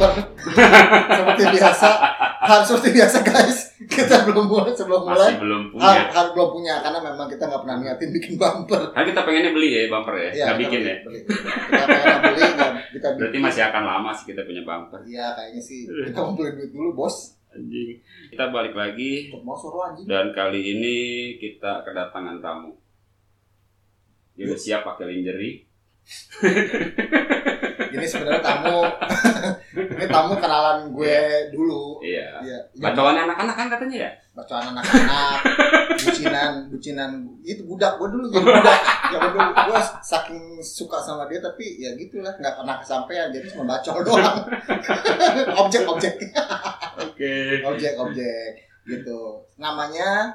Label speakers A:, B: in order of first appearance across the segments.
A: Ah, seperti biasa harus seperti biasa guys kita belum mulai sebelum mulai
B: Masih belum
A: harus
B: punya.
A: harus belum punya karena memang kita nggak pernah niatin bikin bumper
B: Kan kita pengennya beli ya bumper ya, nggak
A: kita
B: bikin
A: beli-
B: ya.
A: beli. kita pengen beli nggak kita
B: Berarti masih akan lama sih kita punya bumper.
A: Iya kayaknya sih kita ngumpulin duit dulu bos
B: Anjing. Kita balik lagi
A: mau suruh anjing
B: dan kali ini kita kedatangan tamu. Dia udah siap pakai lingerie.
A: ini sebenarnya tamu ini tamu kenalan gue dulu
B: Iya.
A: Iya, iya.
B: Bacaannya anak-anak kan katanya ya?
A: bacaan anak-anak, bucinan, bucinan itu budak gue dulu jadi budak. Ya gue dulu gue saking suka sama dia tapi ya gitulah nggak pernah kesampaian jadi cuma bacol doang. objek objek Ah.
B: Oke.
A: objek objek gitu. Namanya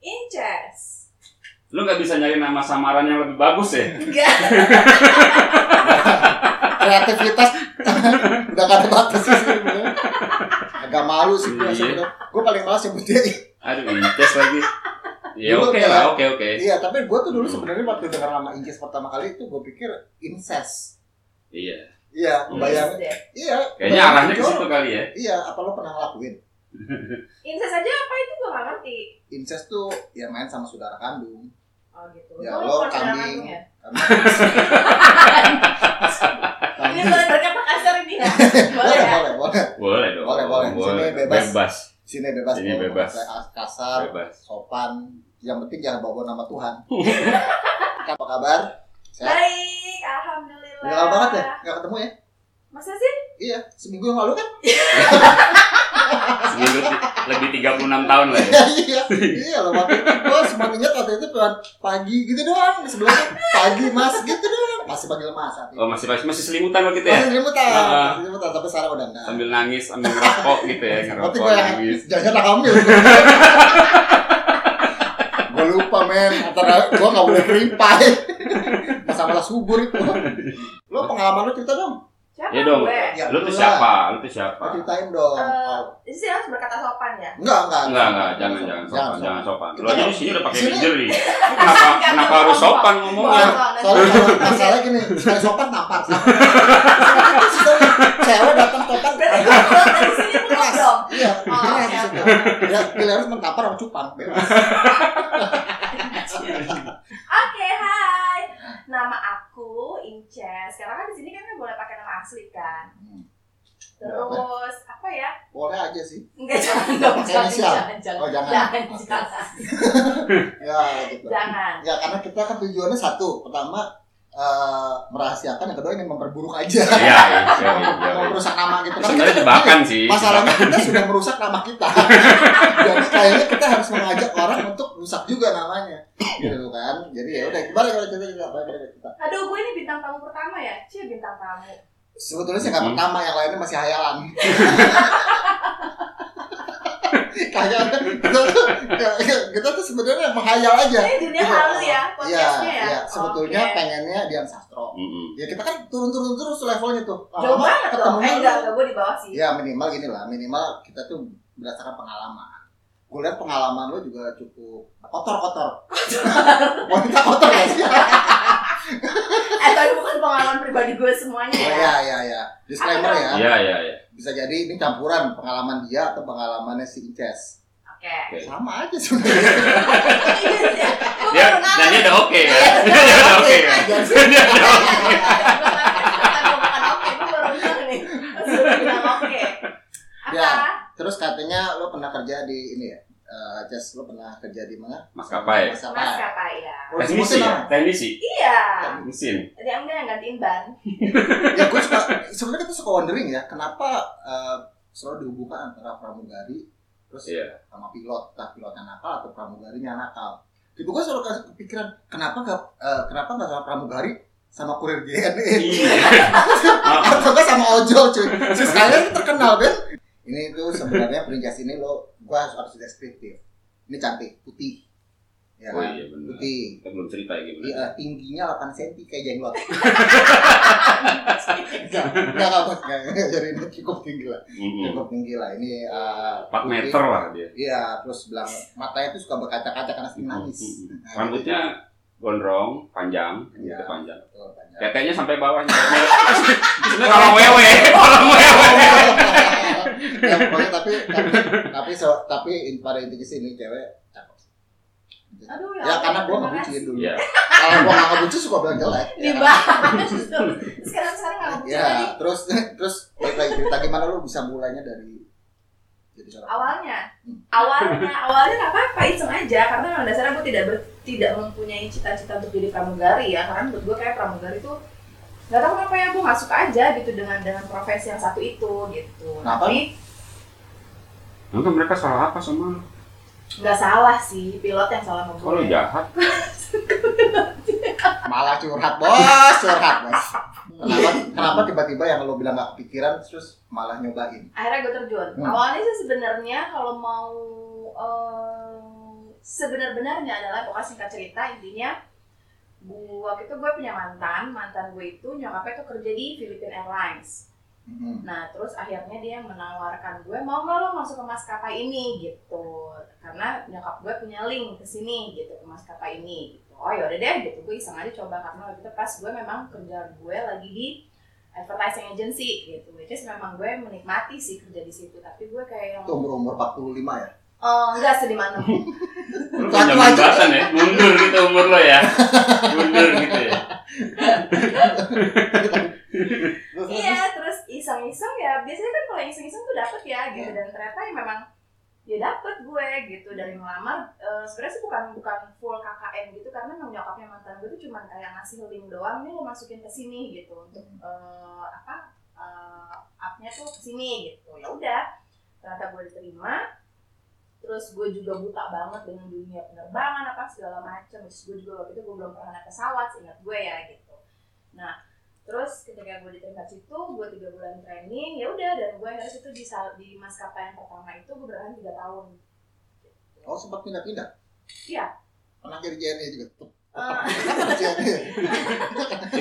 C: Inces.
B: Lu nggak bisa nyari nama samaran yang lebih bagus ya?
C: Enggak.
A: kreativitas udah gak ada batas sih sebenarnya. Agak malu sih gue
B: Iya.
A: sebenarnya. Gue paling malas sebut dia.
B: Aduh, inces lagi. Ya
A: Dulu
B: oke
A: kayak-
B: lah, oke oke.
A: Iya tapi gue tuh dulu sebenarnya waktu dengar nama Inces pertama kali itu gue pikir incest.
B: Iya.
A: Iya, kebayang.
C: Inces.
A: Iya.
B: Kayaknya
A: kebayang
B: arahnya ke
A: jorok.
B: situ kali ya.
A: Iya, apa lo pernah ngelakuin?
C: Inces aja apa itu gue gak ngerti.
A: Incest tuh ya main sama saudara kandung.
C: Oh gitu.
A: Ya,
C: Gua
A: lo
C: bukan saudara
A: kambing.
C: kandung ya? Ini
A: Kandung.
C: boleh berkata kasar ini ya? Boleh
A: boleh,
C: ya?
A: boleh, boleh.
B: Boleh dong.
A: Boleh, boleh. Di sini bebas. Ah.
B: Bebas.
A: Sini bebas.
B: Sini
A: mau
B: bebas.
A: ngomong Kasar,
B: Bebas.
A: sopan. Yang penting jangan bawa nama Tuhan. apa kabar? Sehat?
C: Baik, alhamdulillah.
A: Udah lama banget ya? Gak ketemu ya?
C: Masa sih?
A: Iya, seminggu yang lalu kan?
B: Seminggu ti- lebih 36 tahun lah ya.
A: Iya, iya. Iya, loh. Waktu itu gue cuma ingat waktu itu cuma pagi gitu doang. Sebelumnya pagi mas gitu doang. Masih panggil mas. Hati.
B: Oh masih masih, masih selimutan waktu itu ya?
A: Masih limutan.
B: Ah.
A: Masih limutan. Tapi sekarang udah enggak.
B: Sambil nangis, sambil ngerokok gitu ya,
A: Nanti
B: ngerokok
A: gue yang
B: nangis.
A: jangan tak hamil. gue lupa men, antara gue gak boleh keripai. Masalah subur itu. Lo pengalaman lo cerita dong.
C: Siapa
B: Ya dong.
C: gue?
A: Ya,
B: Lu tuh
A: lah.
B: siapa? Lu tuh siapa?
A: Lo ceritain dong.
C: Eh, Ini sih harus berkata sopan ya?
A: Enggak, enggak.
B: Enggak, enggak, jangan, jangan sopan, jangan sopan. Lu aja di sini udah pakai
A: Sini.
B: lingerie. Lu Kenapa
C: Enggak,
B: kenapa
C: enggak,
B: harus
C: enggak.
B: sopan
A: Enggak,
B: ngomongnya?
A: soalnya kalau masalah gini, sekali sopan nampar. Cewek datang sopan,
C: Berarti gue keluar dari sini belum
A: keras.
C: dong?
A: Iya,
C: Oh,
A: keras
C: oke,
A: di situ. Ya, Pilihan harus mentapar sama cupang, bebas.
C: Oke, hai. Nama aku Inces. Sekarang kan di sini kan boleh pakai nama asli kan?
A: Hmm.
C: Terus apa ya?
A: Boleh aja sih.
C: Enggak jangan dong,
A: Pakai
C: jangan,
A: inisial.
C: jangan, jangan,
A: Oh, jangan.
C: jangan,
A: Oke.
C: jangan,
A: Ya, gitu.
C: jangan.
A: Ya karena kita kan tujuannya satu, pertama eh, merahasiakan, yang kedua ingin memperburuk aja,
B: Iya, iya, iya.
A: Mau merusak nama gitu. Karena
B: Sebenarnya
A: kita-
B: jebakan sih.
A: Masalahnya kita sudah merusak nama kita, jadi kayaknya kita harus mengajak orang untuk rusak juga namanya, gitu kan? Jadi ya udah, gimana kalau cerita kita, gimana kalau cerita?
C: Aduh, gue ini bintang tamu pertama ya? Cie, bintang tamu.
A: Sebetulnya sih nggak
B: Hmm.
A: pertama, yang lainnya masih hayalan. Kayaknya kita, tuh- kita tuh sebenarnya menghayal aja.
C: Ini dunia
A: Iya.
C: halu ya,
A: Iya,
C: podcastnya ya?
A: iya. Sebetulnya
C: Oke.
A: pengennya Dian Sastro.
B: Mm-mm.
A: ya kita kan turun-turun terus levelnya tuh
C: Jauh banget dong. Eh, enggak,
A: ketemu
C: enggak, gue di bawah sih.
A: ya minimal gini lah minimal kita tuh berdasarkan pengalaman gue lihat pengalaman lo juga cukup kotor-kotor wanita kotor ya sih
C: Eh, tapi bukan pengalaman pribadi gue semuanya
A: oh,
C: ya.
A: ya ya ya disclaimer ya
B: Iya, iya, iya.
A: bisa jadi ini campuran pengalaman dia atau pengalamannya si Inces
C: Oke.
A: sama aja sebenarnya
C: Iya, iya. Gue
B: Ya,
C: baru
B: dan dia
C: nanya.
B: udah oke kan? Dia udah oke kan? Dia udah oke.
C: Gue nanya, bukan bukan oke, gue baru bilang nih. Terus gue bilang oke.
A: Ya.
C: Apa?
A: terus katanya lo pernah kerja di ini ya Eh, Ces, lo pernah kerja di mana
B: Maskapai.
A: maskapai Oh,
C: Maskapai ya.
A: Lo
B: Teknisi
A: sebutin
B: ya?
A: lah.
B: Teknisi.
C: Iya.
B: Mesin.
C: Dia enggak yang gantiin ban.
A: ya gue suka sebenarnya kita suka wondering ya kenapa eh, selalu dihubungkan antara pramugari terus
B: Iya.
A: sama pilot entah pilotnya nakal atau pramugarinya nakal itu gue selalu kasih kepikiran kenapa nggak eh, kenapa nggak sama pramugari sama kurir JNE
B: Iya.
A: atau nggak sama ojol cuy terus kalian terkenal kan ini tuh sebenarnya perincis ini lo gue harus harus deskriptif ini cantik putih ya
B: Oh
A: kan?
B: iya benar.
A: putih
B: Kita belum cerita ya
A: Iya,
B: gimana.
A: tingginya 8 cm kayak jenglot. Enggak, enggak apa Jadi ini cukup tinggi lah.
B: Mm-mm.
A: Cukup tinggi lah. Ini eh,
B: 4
A: putih.
B: Hmm. meter lah dia.
A: Iya, terus bilang matanya tuh suka berkaca-kaca karena sering nangis. Nah,
B: Mm-mm. Oh, Hmm, Rambutnya gondrong panjang
A: Iya.
B: gitu panjang
A: Betul, panjang.
B: tetenya sampai bawahnya Maksudnya kalau wewe kalau wewe
A: ya, pokoknya tapi tapi tapi so- tapi in- pada intinya sih ini cewek cakep.
C: Aduh,
A: Ya karena
C: Allah,
A: gua
C: terima
A: ngebucin dulu.
B: Iya.
A: Kalau gua nggak ngebucin suka bilang jelek.
C: kasih.
A: Ya.
C: Dibahas. Sekarang sekarang nggak bucin
A: Ya,
C: tadi.
A: terus terus balik lagi cerita gimana lu bisa mulainya dari jadi seorang
C: Awalnya,
A: Hmm.
C: awalnya, awalnya nggak apa-apa, iseng aja. Karena memang dasarnya gue tidak ber, tidak mempunyai cita-cita untuk jadi pramugari ya. Karena menurut gue kayak pramugari tuh nggak tahu kenapa ya gue nggak suka aja gitu dengan dengan profesi yang satu itu gitu.
A: Kenapa?
C: Tapi
B: Mungkin kan mereka salah apa sama lu?
C: nggak salah sih pilot yang salah sama
B: Kalau
C: gue.
B: jahat,
A: malah curhat bos curhat bos kenapa kenapa tiba-tiba yang lo bilang nggak kepikiran terus malah nyobain
C: akhirnya gue terjun
A: Hmm.
C: awalnya sih sebenarnya kalau mau eh, sebenar-benarnya adalah pokoknya singkat cerita intinya gue waktu itu gue punya mantan mantan gue itu nyokapnya tuh kerja di Philippine Airlines
A: Mhm.
C: nah terus akhirnya dia menawarkan gue mau nggak lo masuk ke maskapai ini gitu karena nyokap gue punya link ke sini gitu ke maskapai ini gitu oh yaudah deh gitu gue iseng aja coba karena waktu itu pas gue memang kerja gue lagi di advertising agency gitu which is memang gue menikmati sih kerja di situ tapi gue kayak yang
A: itu umur umur 45 ya
C: Eh, enggak sedih mana
B: lu
A: Satu
B: punya
A: aja.
B: batasan ya, mundur gitu umur lo ya, mundur gitu ya.
C: iya terus iseng-iseng ya biasanya kan kalau iseng-iseng tuh dapet ya gitu dan ternyata ya memang ya dapet gue gitu dari melamar eh, sebenarnya sih bukan bukan full KKN gitu karena memang nyokapnya mantan gue tuh cuman kayak ngasih link doang nih lo masukin ke sini gitu untuk eh, apa eh, upnya tuh ke sini gitu ya udah ternyata gue diterima terus gue juga buta banget dengan dunia penerbangan apa segala macam terus gue juga waktu itu gue belum pernah naik pesawat ingat gue ya gitu nah terus ketika gue diterima situ gue tiga bulan training ya udah dan gue harus itu di, sal- di maskapai yang pertama itu gue bertahan tiga tahun
A: oh sempat pindah-pindah
C: Iya.
A: pernah jadi JNE juga
C: Eh,
A: Kenapa JNE?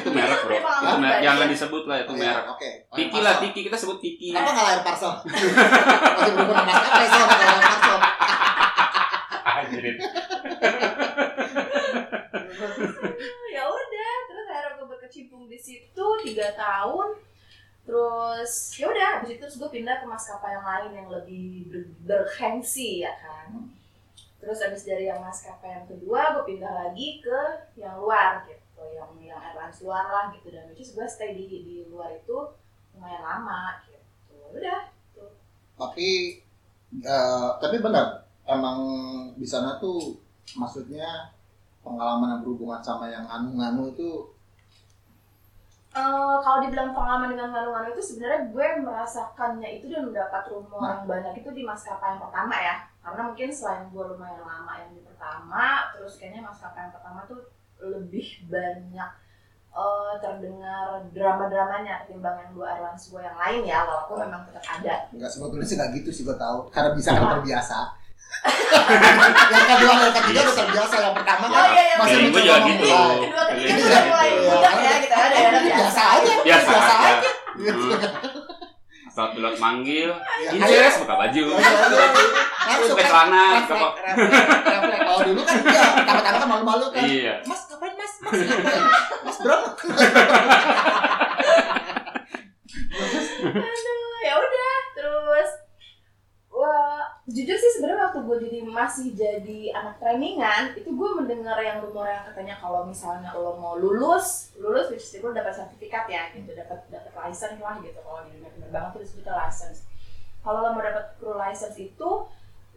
B: Itu merek bro,
C: Emang
B: itu merek,
C: baik.
B: jangan disebut lah itu
A: Oh, iya,
B: merek.
A: oke
B: Tiki lah, tiki kita sebut tiki.
A: apa nggak lahir parcel masih belum pernah masak apa sih nggak lahir parcel
B: Anjir.
C: ya udah terus akhirnya gue berkecimpung di situ tiga tahun terus ya udah habis itu terus gue pindah ke maskapai yang lain yang lebih ber- bergengsi ya kan terus habis dari yang maskapai yang kedua gue pindah lagi ke yang luar gitu yang yang airlines luar lah gitu dan which is gue stay di di luar itu lumayan lama gitu udah
A: tapi eh, tapi benar emang di sana tuh maksudnya pengalaman yang berhubungan sama yang nganu-nganu itu
C: Eh, kalau dibilang pengalaman dengan nganu-nganu itu sebenarnya gue merasakannya itu dan mendapat rumor yang banyak itu di maskapai yang pertama ya karena mungkin selain gue lumayan lama yang di pertama terus kayaknya maskapai yang pertama tuh lebih banyak eh, terdengar drama-dramanya ketimbang yang dua airlines gue yang lain ya walaupun memang tetap ada
A: Enggak sebetulnya sih nggak gitu sih gue tahu karena bisa kan terbiasa. yang kedua yang ketiga udah terbiasa yang pertama kan
C: Oh, iya, iya,
A: masih
B: Feeling
A: mencoba
B: gue juga
A: memulai.
B: gitu.
C: kedua ketiga
B: Feeling gue
C: tuh udah
B: juga
C: mulai
B: gitu.
C: budak ya kita ada
A: Iya,
C: ada
A: biasa aja.
B: Biasa
A: Biasa
B: Ya, aja.
A: aja.
B: Hmm. Asal pilot manggil,
A: Ya, ayo.
B: Inces buka baju,
A: Iya, iya, iya. Langsung
B: buka
A: kan
B: celana, buka
A: refleks, refleks, refleks. Kalau dulu kan enggak, pertama-tama kan malu-malu kan. Iya.
B: Iya.
A: Mas ngapain mas? Mas ngapain? Mas bro?
C: aduh ya udah terus wah jujur sih sebenarnya waktu gue jadi masih jadi anak trainingan itu gue mendengar yang rumor yang katanya kalau misalnya lo mau lulus lulus which is lo dapat sertifikat ya gitu dapat dapat license lah gitu kalau di dunia penerbangan tuh disebutnya license kalau lo mau dapat crew license itu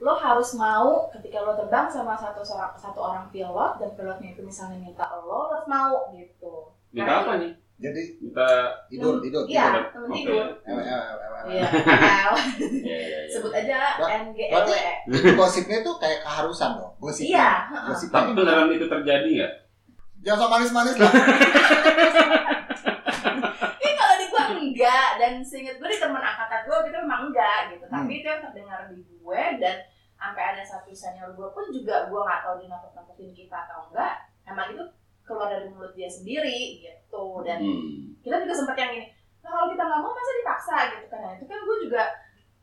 C: lo harus mau ketika lo terbang sama satu seorang satu orang pilot dan pilotnya itu misalnya minta lo lo harus mau gitu
B: Minta apa nih?
A: Jadi
B: Minta
A: tidur tidur. tidur.
C: iya temen
B: Oke.
C: tidur
A: Ewe, ewe, ewe, ewe.
C: iya
B: Iya, iya, iya.
C: sebut aja
A: Ba-
C: NGLE
A: berarti- Gosipnya tuh kayak keharusan dong.
C: E. iya
A: Gosipnya.
C: heeh.
A: Gosipnya.
B: Tapi beneran itu terjadi nggak?
A: Jangan sok manis-manis lah.
C: ini kalau di gua enggak dan seinget gue di teman angkatan gue gitu memang enggak gitu tapi itu yang terdengar di gue dan sampai ada satu senior gue pun juga gue nggak tahu dia nakut nakutin kita atau enggak emang itu keluar dari mulut dia sendiri gitu dan
B: Hmm.
C: kita juga sempat yang ini nah kalau kita nggak mau masa dipaksa gitu kan nah, itu kan gue juga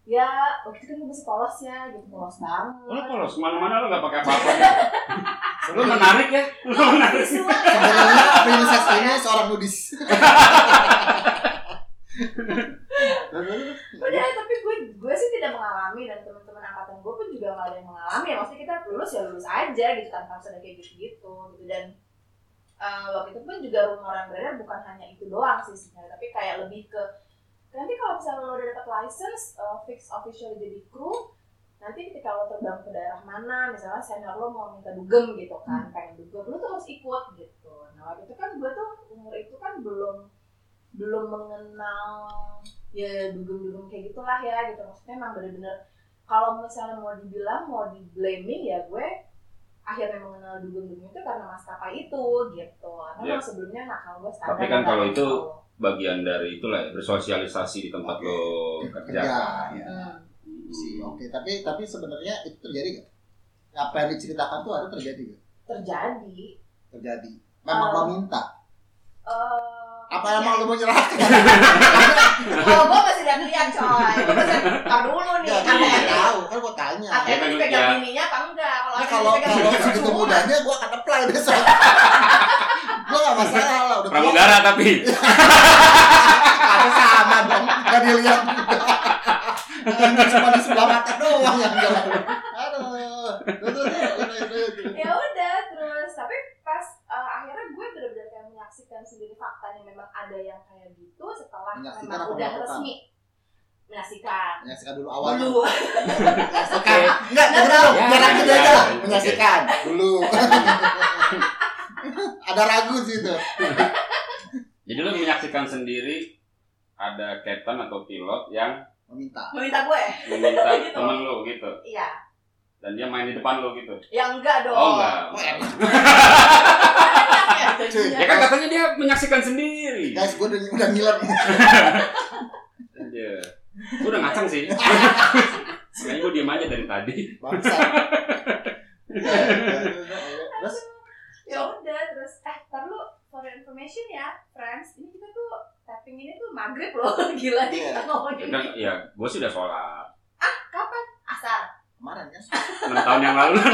C: ya waktu itu kan gue masih polos ya gitu polos banget
B: Lo polos, kemana-mana lo nggak pakai apa-apa. ya? Lu menarik ya? Lu menarik.
C: visual
A: Sebenarnya princess ini seorang nudis.
C: udah tapi gue gue sih tidak mengalami dan teman-teman angkatan gue pun juga nggak ada yang mengalami ya maksudnya kita lulus ya lulus aja gitu tanpa harus ada kayak gitu gitu gitu dan eh, waktu itu pun juga rumor yang beredar bukan hanya itu doang sih sebenarnya tapi kayak lebih ke nanti kalau misalnya lo udah dapet license eh, fix official jadi kru nanti ketika lo terbang ke daerah mana misalnya senior lo mau minta dugem gitu kan pengen dugem lo tuh harus ikut gitu nah waktu itu kan gue tuh umur itu kan belum belum mengenal ya dugem-dugem kayak gitulah ya gitu maksudnya emang bener-bener kalau misalnya mau dibilang mau di blaming ya gue akhirnya mengenal dugem-dugem itu karena maskapai itu gitu karena
B: Ya.
C: kalau sebelumnya nakal gue standar gitu.
B: Tapi kan
C: nakal.
B: kalau itu bagian dari itulah ya, bersosialisasi di tempat lo kerja.
A: Kerja. ya.
C: Hmm.
A: Sih, Oke, tapi tapi sebenarnya itu terjadi nggak? Apa yang diceritakan tuh ada terjadi nggak?
C: terjadi
A: Terjadi. Memang
C: Um,
A: mau minta.
C: eh,
A: Apa
C: ya,
A: emang lu mau nyerah?
C: kalau gue masih lihat lihat coy gue masih ntar dulu nih
A: Ya, kan
C: ATM
A: gua
B: Iya.
A: nggak tahu, kan gua tanya.
C: ATM
B: Iya,
C: dipegang
B: iya.
C: bininya apa enggak kalau
A: Nah,
C: ATM
A: kalau
C: dipegang
A: kalau
C: bininya
A: segitu
C: cuma-
A: mudahnya gua akan apply besok. gua gak masalah lah, udah tua.
B: Pramugara tapi.
A: Ada sama dong, gak dilihat. Anjing, Cuma di sebelah mata doang yang jalan. Aduh, Tuh, tuh, tuh, tuh, tuh, tuh.
C: ya udah terus tapi pas eh, akhirnya gue bener-bener kayak menyaksikan sendiri faktanya memang ada yang kayak gitu setelah
A: Menyaksikan
C: memang
A: apa
C: udah
A: melakukan?
C: resmi menyaksikan
A: Menyaksikan dulu awal.
C: dulu
A: Oke. Enggak,
C: Nggak
A: enggak dong.
B: tahu.
A: Jalan kita
B: Ya,
A: aja
B: ya,
A: lah.
B: ya.
A: Menyaksikan dulu. Ada ragu sih itu.
B: Jadi lo menyaksikan sendiri ada captain atau pilot yang
A: Meminta.
C: meminta gue
B: meminta
C: Gitu.
B: temen lo gitu
C: iya
B: dan dia main di depan lo gitu.
C: ya enggak dong
B: Oh enggak.
A: Oh, enak.
C: Ya,
A: Cuy.
B: Ya kan katanya dia menyaksikan sendiri.
A: Guys, gue udah, udah ngiler nih.
B: Iya. Gue udah ngacang sih. Sebenarnya gue diem aja dari tadi.
A: Bangsa. Ya, ya, ya, ya. Terus
C: ya udah terus eh ntar lu for your information ya friends ini kita tuh tapping ini tuh maghrib loh gila nih
A: Iya.
C: kita
B: Ya
C: ngomongin
B: kan, ya gue sih udah sholat.
C: ah kapan asar
A: kemarin kan.
B: 6 tahun yang lalu lah.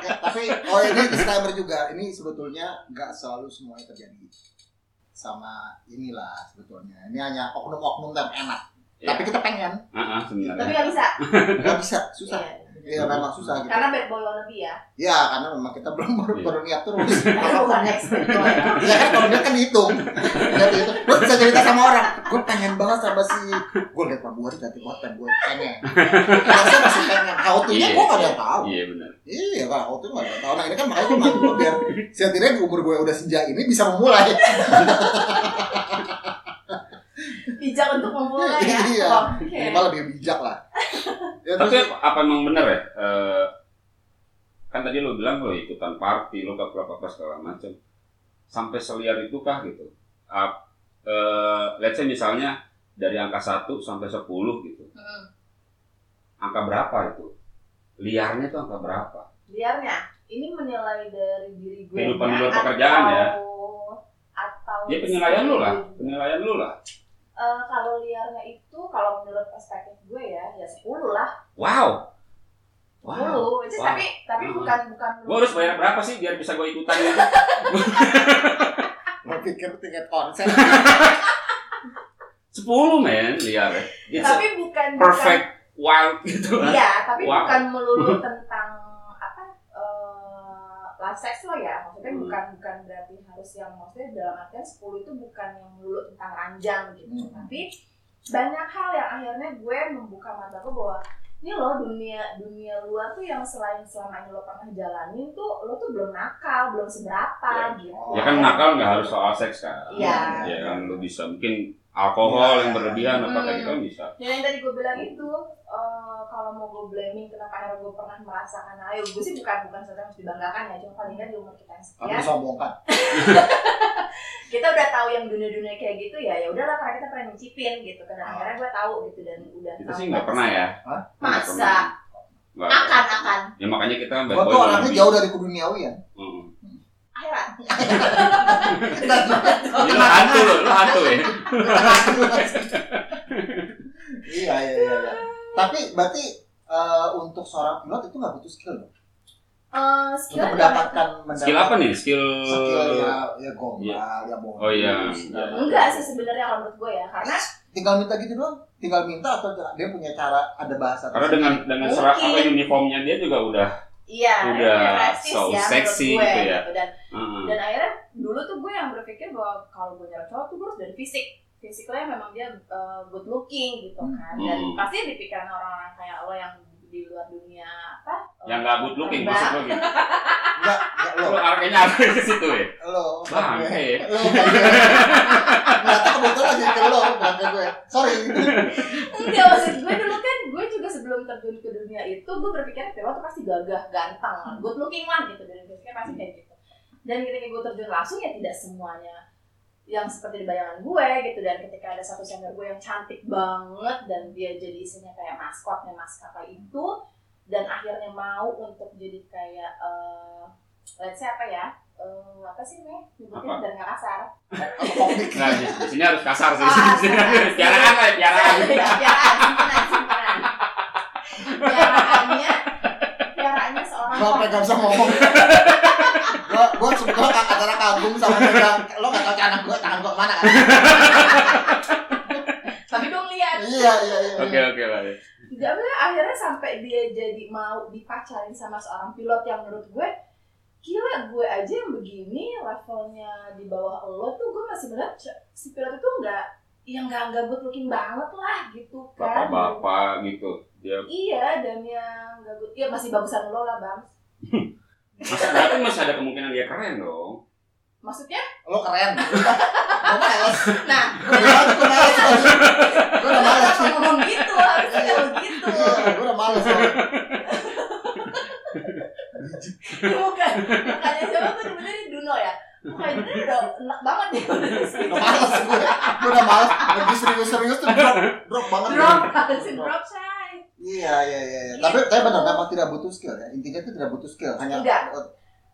A: Ya, tapi oh ini disclaimer juga. Ini sebetulnya nggak selalu semuanya terjadi sama inilah sebetulnya. Ini hanya oknum-oknum dan enak.
B: Ya.
A: Tapi kita pengen,
B: Heeh,
C: tapi
B: sebenarnya.
C: nggak bisa
A: nggak bisa, susah.
C: Iya.
A: Iya, memang susah gitu.
C: karena bad boy lo lebih ya
A: Ya, karena memang kita belum baru,
B: Iya.
A: baru niat terus.
C: Karena bukan expert boy.
A: ya kan kalau dia kan dihitung dia dihitung terus bisa cerita sama orang gue pengen banget sama si gue liat Pak Buari ganti konten gue pengen harusnya masih pengen how to nya gue gak ada yang tahu
B: Iya benar.
A: iya kan how to gak ada yang tahu nah ini kan makanya gue maju gua biar setidaknya di umur gue udah senja ini bisa memulai
C: bijak untuk memulai ya
A: Iya.
C: oke
A: minimal lebih bijak lah ya,
B: Tapi
A: terus,
B: apa, apa emang bener ya? Eh, kan tadi lo bilang lo ikutan party, lo ke klub apa segala macam. Sampai seliar itu kah gitu? Ap- eh, let's say misalnya dari angka 1 sampai 10 gitu.
C: Hmm.
B: Angka berapa itu? Liarnya tuh angka berapa?
C: liarnya ini menilai dari diri gue
B: Kehidupan di luar pekerjaan ya.
C: atau
B: Ya penilaian lo
A: Iya.
B: lah, penilaian lo lah.
C: Eh, kalau liarnya itu kalau menurut perspektif gue ya ya 10 lah
B: Wow.
C: 10
B: Wow.
C: Which is
B: Wow.
C: tapi tapi
B: Hmm.
C: bukan bukan
B: Gue harus bayar berapa sih biar bisa gue ikutan gitu?
A: gue pikir tiket konser
C: Ya.
B: 10 men liar ya. It's a
C: tapi kan bukan bukan
B: perfect wild gitu.
C: Iya, tapi
B: Wow.
C: bukan melulu tentang apa eh life sex lo ya. Maksudnya
B: Hmm.
C: bukan bukan berarti harus yang maksudnya dalam artian 10 itu bukan yang melulu tentang ranjang gitu.
A: Hmm.
C: Tapi banyak hal yang akhirnya gue membuka mataku bahwa ini loh dunia dunia luar tuh yang selain selama ini lo pernah jalanin tuh lo tuh belum nakal, belum seberapa gitu.
B: Ya kan nakal nggak harus soal seks kan.
C: Iya.
B: Ya kan lu bisa mungkin alkohol yang berlebihan apa
C: Hmm.
B: kayak gitu kan bisa.
C: Dan yang tadi gue bilang itu eh, kalau mau gue blaming kenapa akhirnya gue pernah merasakan ayo gue sih bukan bukan sesuatu yang harus dibanggakan ya cuma paling nggak di umur kita
A: kamu
C: yang sekian
A: sombong kan
C: kita udah tahu yang dunia-dunia kayak gitu ya ya udahlah karena kita pernah nyicipin gitu kan Dan akhirnya gue tahu gitu dan udah
B: Ah. Kita
C: tahu
B: sih nggak pernah ya.
A: Hah?
B: Nggak
C: Masa?
B: pernah. Nggak.
C: akan akan
B: Ya makanya kita bad
A: gue
B: boy
A: tuh orangnya
B: wannabe.
A: jauh dari keduniawian ya
B: Hmm.
C: akhirat
A: enggak juga
B: Jadi lu hantu lu, lu hantu ya.
A: iya iya iya. iya. Tapi berarti eh, untuk seorang pilot itu nggak butuh skill loh.
C: Eh,
A: Untuk
C: skill
A: mendapatkan
B: Skill apa nih? Skill
A: Skill ya, ya gombal,
B: Iya.
A: ya bonus.
B: Oh, iya.
A: segala macam.
C: enggak sih sebenarnya kalau menurut gue ya karena
A: Tinggal minta gitu doang. Tinggal minta atau dia punya cara ada bahasa.
B: Karena dengan dengan
C: Mungkin.
B: serak apa uniformnya dia juga udah.
C: iya
B: Udah
C: ini rasis
B: so
C: ya menurut
B: sexy
C: gue,
B: gitu ya.
C: dan
B: Heeh.
C: dan akhirnya dulu tuh gue yang berpikir bahwa kalau gue nyerang cowok tuh gue harus dari fisik fisiknya memang dia uh, good looking gitu kan dan
B: Hmm.
C: pasti di pikiran orang-orang kayak lo yang di luar dunia apa
B: yang nggak good looking
C: terbang.
B: maksud lo gitu.
A: enggak, enggak lo.
B: Lo arahnya arahnya ke situ ya.
A: Lo.
B: Bang, ya.
A: Lo. Ternyata kebetulan lagi ke lo, bukan ke gue. Sorry.
C: Enggak maksud gue dulu kan gue juga sebelum terjun ke dunia itu gue berpikir Velo tuh pasti gagah, ganteng, lah, good looking lah gitu dari fisiknya pasti kayak gitu. Dan ketika gue terjun langsung ya tidak semuanya yang seperti di bayangan gue gitu dan ketika ada satu senior gue yang cantik banget dan dia jadi isinya kayak maskotnya maskapai itu dan akhirnya mau untuk jadi kayak eh let's say apa ya Eh, apa sih nih
B: Apa?
C: nyebutin dan nggak kasar
B: Nah, di, di sini harus kasar sih.
C: Ah,
B: Di sini eh,
C: kasar. Iya,
B: Piaraan lah, piaraan.
C: Piaraan, simpenan, simpenan. Piaraannya, piaraannya seorang
A: Gue apa gak bisa ngomong. Gue gue sebetulnya kak antara kagum sama pegang. Lo nggak tahu anak gue tangan gue mana kan?
C: Tapi dong lihat.
A: Iya iya iya.
B: Oke oke lah. ya.
C: Gak bener, akhirnya sampai dia jadi mau dipacarin sama seorang pilot yang menurut gue Gila gue aja yang begini levelnya di bawah lo tuh gue masih melihat c- si pilot itu nggak yang nggak nggak good looking banget lah gitu kan
B: Bapak-bapak gitu. Dia
C: iya dan yang nggak good ya masih bagusan lo lah bang
B: masih tapi masih ada kemungkinan dia keren dong.
C: maksudnya
A: Lo keren. Gue males.
C: Nah,
A: Gue bilang gue males. Gue udah males.
C: Kenapa ngomong gitu? Harusnya gitu. nggak begitu.
A: Gue udah males. soalnya.
C: Bukan. Bukannya siapa tuh sebenarnya Duno ya? Bukan Duno udah enak banget ya udah di situ.
A: Udah males gue. Gue udah males. Lagi serius-serius tuh drop. Drop banget.
C: Drop, harusnya drop say.
A: Iya iya iya. iya. Tapi tapi benar memang tidak butuh skill ya. Intinya itu tidak butuh skill. Hanya oh,
C: Enggak.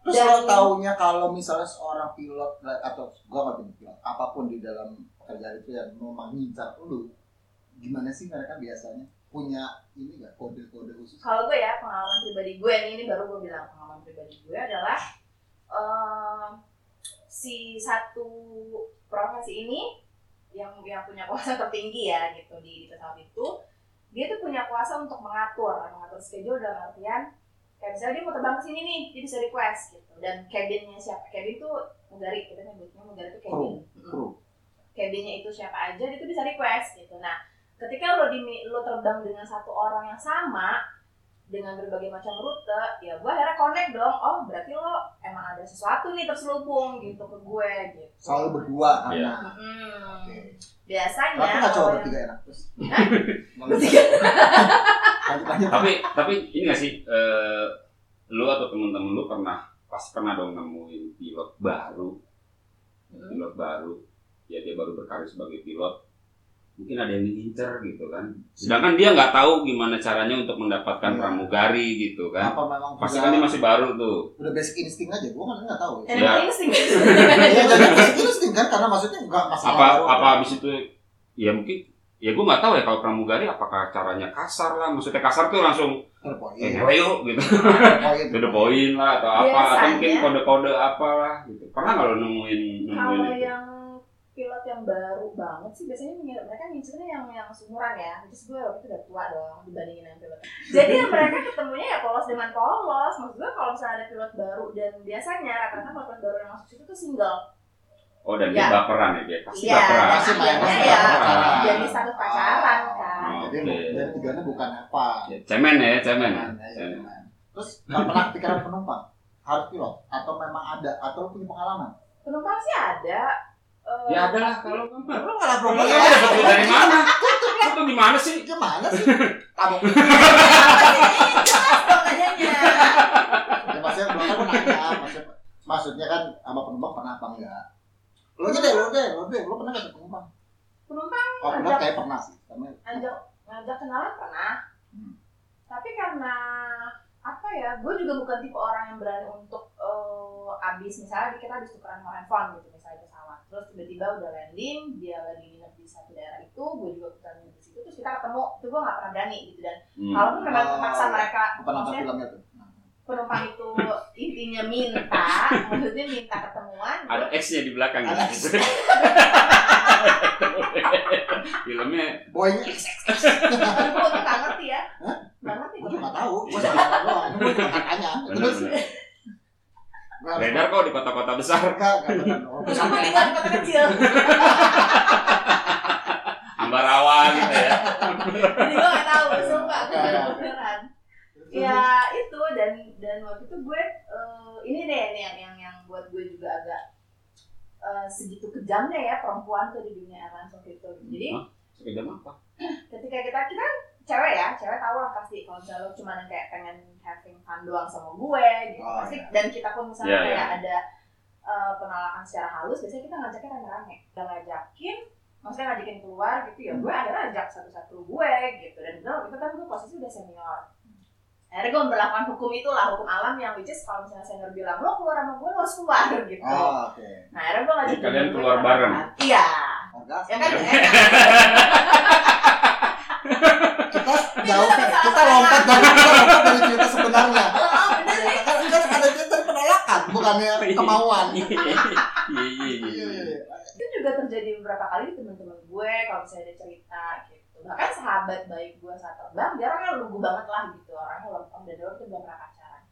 A: Terus
C: Dan-
A: lo taunya kalau misalnya seorang pilot atau gua nggak pilot pilot apapun di dalam pekerjaan itu yang memang ngincar lu, gimana sih mereka biasanya punya ini nggak kode-kode khusus?
C: Kalau gue ya pengalaman pribadi gue nih ini baru gue bilang pengalaman pribadi gue adalah em, si satu profesi ini yang yang punya kuasa tertinggi ya gitu di, di pesawat itu dia tuh punya kuasa untuk mengatur mengatur schedule dalam artian kayak misalnya dia mau terbang ke sini nih dia bisa request gitu dan cabinnya siapa cabin tuh mugari kita nyebutnya mugari tuh cabin
A: Kru.
C: Mm
A: Kru.
C: cabinnya itu siapa aja itu bisa request gitu nah ketika lo di lo terbang dengan satu orang yang sama dengan berbagai macam rute ya gue akhirnya connect dong oh berarti lo emang ada sesuatu nih terselubung gitu ke gue gitu
A: Selalu
B: Iya.
A: berdua karena.
C: Hmm.
A: Oke.
C: biasanya
A: Kenapa nggak coba
C: kalau yang-
A: bertiga enak terus?
C: Hah?
A: Malu. Lanjut lanjut.
B: Tapi tapi ini nggak sih eh, lu atau temen-temen lu pernah pasti pernah dong nemuin pilot baru
C: Hmm.
B: pilot baru ya dia baru berkarir sebagai pilot mungkin ada yang diincer gitu kan sedangkan dia nggak tahu gimana caranya untuk mendapatkan
A: Iya.
B: pramugari gitu kan
A: Apa memang
B: pasti kan dia
A: udah,
B: masih
C: Iya.
B: baru tuh
A: udah basic instinct aja? Gue kan nggak tahu. ya.
C: Dan
B: Ya.
C: yang insting
A: Iya jadi basic instinct kan karena maksudnya nggak masalah.
B: apa
A: baru.
B: apa abis itu ya mungkin ya gue nggak tahu ya kalau pramugari apakah caranya kasar lah maksudnya kasar tuh langsung
A: Terpoin.
B: eh nyewe yuk gitu
A: Terpoin.
B: to the point lah atau apa atau
C: Biasanya-
B: mungkin kode-kode apalah gitu pernah nggak lo nemuin nemuin
C: kalau
A: ya-
B: itu?
C: yang pilot yang baru banget sih biasanya mengira- mereka ngincernya yang yang seumuran ya terus gue waktu itu udah tua dong dibandingin yang pilot jadi yang mereka ketemunya ya polos dengan polos maksud gue kalau misalnya ada pilot baru dan biasanya rata-rata kalau pilot baru yang masuk situ tuh single
B: oh dan dia
C: Ya.
B: baperan ya dia pasti
C: Iya,
B: baperan
A: Pasti ya, main
C: Iya,
A: main
B: iya.
A: pacaran.
C: Jadi satu pacaran, kan.
A: Oh, Jadi
B: Oke.
A: dari tiganya bukan apa.
B: Ya, cemen ya cemen ya.
A: Mana, ya, mana. Terus nggak pernah pikiran penumpang harus pilot atau memang ada atau lu punya pengalaman?
C: penumpang sih ada Eh,
B: ya ada lah kalau kamu
A: Lu malah
B: Lu kan dapat duit dari mana? Lu tuh gimana sih?
A: Gimana sih? Kamu
C: apa sih? Jelas dong nanyanya.
A: ya, maksudnya belum kan nanya maksudnya, maksudnya kan sama penumpang pernah apa enggak? Lu aja deh, lu deh, lu deh, lu pernah nggak sama penumpang?
C: penumpang
A: Oh, pernah
C: Ada.
A: kayak pernah sih. Karena
C: ngajak ngajak kenalan pernah
A: Hmm.
C: tapi karena apa ya gue juga bukan tipe orang yang berani untuk eh, abis misalnya kita habis tukeran nomor handphone gitu misalnya pesawat terus tiba-tiba udah landing dia lagi nginep di satu daerah itu gue juga bukan nginep di situ terus kita ketemu itu gue nggak pernah berani gitu dan
B: Hmm.
C: kalaupun
A: Oh,
C: memang terpaksa mereka
A: pernah nonton
C: maksudnya
A: filmnya tuh. Nah,
C: penumpang itu intinya minta, maksudnya minta ketemuan,
B: Ada X-nya di belakang gitu.
A: Ada X.
B: Filmnya
A: Boeing X
C: gue tuh nggak ngerti ya,
A: Hah?
C: nggak ngerti
A: gue
C: gue.
A: juga nggak tahu gue sama doang gue juga tanya terus
B: benar-benar.
A: gue harus-
B: Beredar kok di kota-kota besar.
A: enggak enggak benar dong. Gue
C: Terus
A: sama
C: gue tinggal di kota kecil,
B: Ambarawa gitu ya.
C: jadi gue nggak tahu, sumpah gue
A: Nggak, nggak.
C: beneran. Ya itu dan dan waktu itu gue eh, ini deh ini yang yang yang buat gue juga agak eh, segitu kejamnya ya perempuan tuh di dunia airlines waktu itu. Jadi
B: Sepeda apa?
C: ketika kita kita kan cewek ya cewek tahu lah pasti kalau misalnya lo cuma yang kayak pengen having fun doang sama gue gitu
A: Oh,
C: pasti
A: iya.
C: dan kita pun misalnya
B: Iya,
C: kayak
B: iya.
C: ada eh, penolakan secara halus biasanya kita ngajakin rame-rame kita ngajakin maksudnya ngajakin keluar gitu ya gue akhirnya ajak satu-satu gue gitu dan gue waktu itu kan gue posisi udah senior akhirnya gue memperlakukan hukum itulah hukum alam yang which is kalau misalnya senior bilang lo keluar sama gue lo harus keluar gitu
A: oh oke
C: nah akhirnya gue ngajakin
B: Jadi kalian
C: gue
B: keluar
C: sama-
B: bareng?
C: iya
A: Orgasme.
C: ya kan enak.
A: kita jauh kita lompat dari kita lompat dari cerita sebenarnya
C: oh bener
A: kan kan ada cerita dari penolakan bukannya kemauan
B: Iya iya
A: Iya, iya,
B: iya.
A: iya.
C: itu juga terjadi beberapa kali di teman-teman gue kalau misalnya ada cerita gitu bahkan sahabat baik gue saat terbang dia orangnya lugu banget lah gitu orangnya lempeng dan dia waktu itu belum pernah pacaran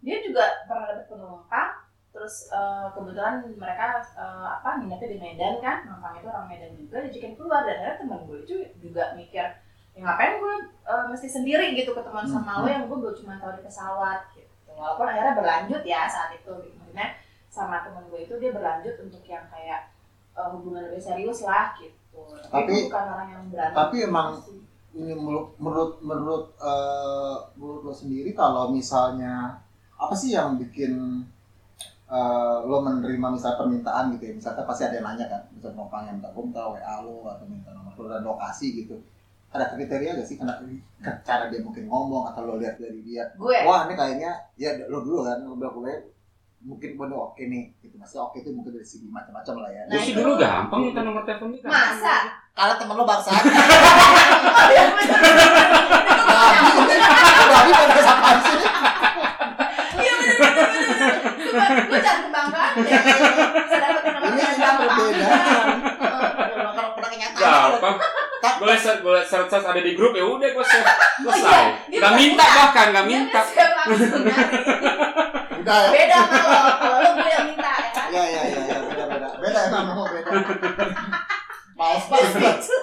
C: dia juga pernah dapet penumpang terus eh, kebetulan mereka eh, apa nginepnya di Medan kan penumpang itu orang Medan juga diajakin keluar dan ada teman gue itu juga mikir ya ngapain gue eh, mesti sendiri gitu ketemuan sama lo yang gue baru cuma tahu di pesawat gitu walaupun akhirnya berlanjut ya saat itu gitu. maksudnya sama temen gue itu dia berlanjut untuk yang kayak eh, hubungan lebih serius lah gitu
A: Tapi-
C: gue bukan orang yang berantem
A: tapi emang ini menurut menurut menurut, eh, menurut lo sendiri kalau misalnya apa sih yang bikin eh, lo menerima misal permintaan gitu ya misalnya pasti ada yang nanya kan misal penumpang yang minta gue minta WA lo atau minta nomor lo dan lokasi gitu ada kriteria gak sih karena cara dia mungkin ngomong atau lo lihat dari dia
C: gue
A: wah ini kayaknya ya lo dulu kan lo bilang gue mungkin gue udah oke nih gitu maksudnya oke itu mungkin dari segi macam-macam lah ya
C: Nah,
B: Gue sih dulu gampang minta nomor telepon dia.
C: masa
A: karena temen lo bangsa
C: iya
A: tapi pada kesempatan sih
C: bener bener bener gue jangan kebanggaan ya bisa dapet nomor
A: Ini
C: yang Eh,
A: yang berbeda.
C: gampang
A: pernah kenyataan
B: Gampang. Gue set gue set set ada di grup ya udah gue set.
C: Oh,
B: Gue
C: iya.
B: say.
C: Dia
B: Gak
C: bukan
B: minta
C: minta.
B: bahkan gak minta.
C: Dia kan langsung nyari.
A: Udah ya.
C: beda kalau kalau lo gue yang minta ya kan
A: Ya ya ya ya beda beda. Beda emang mau beda. Males
C: Gue
A: banget.
C: speechless.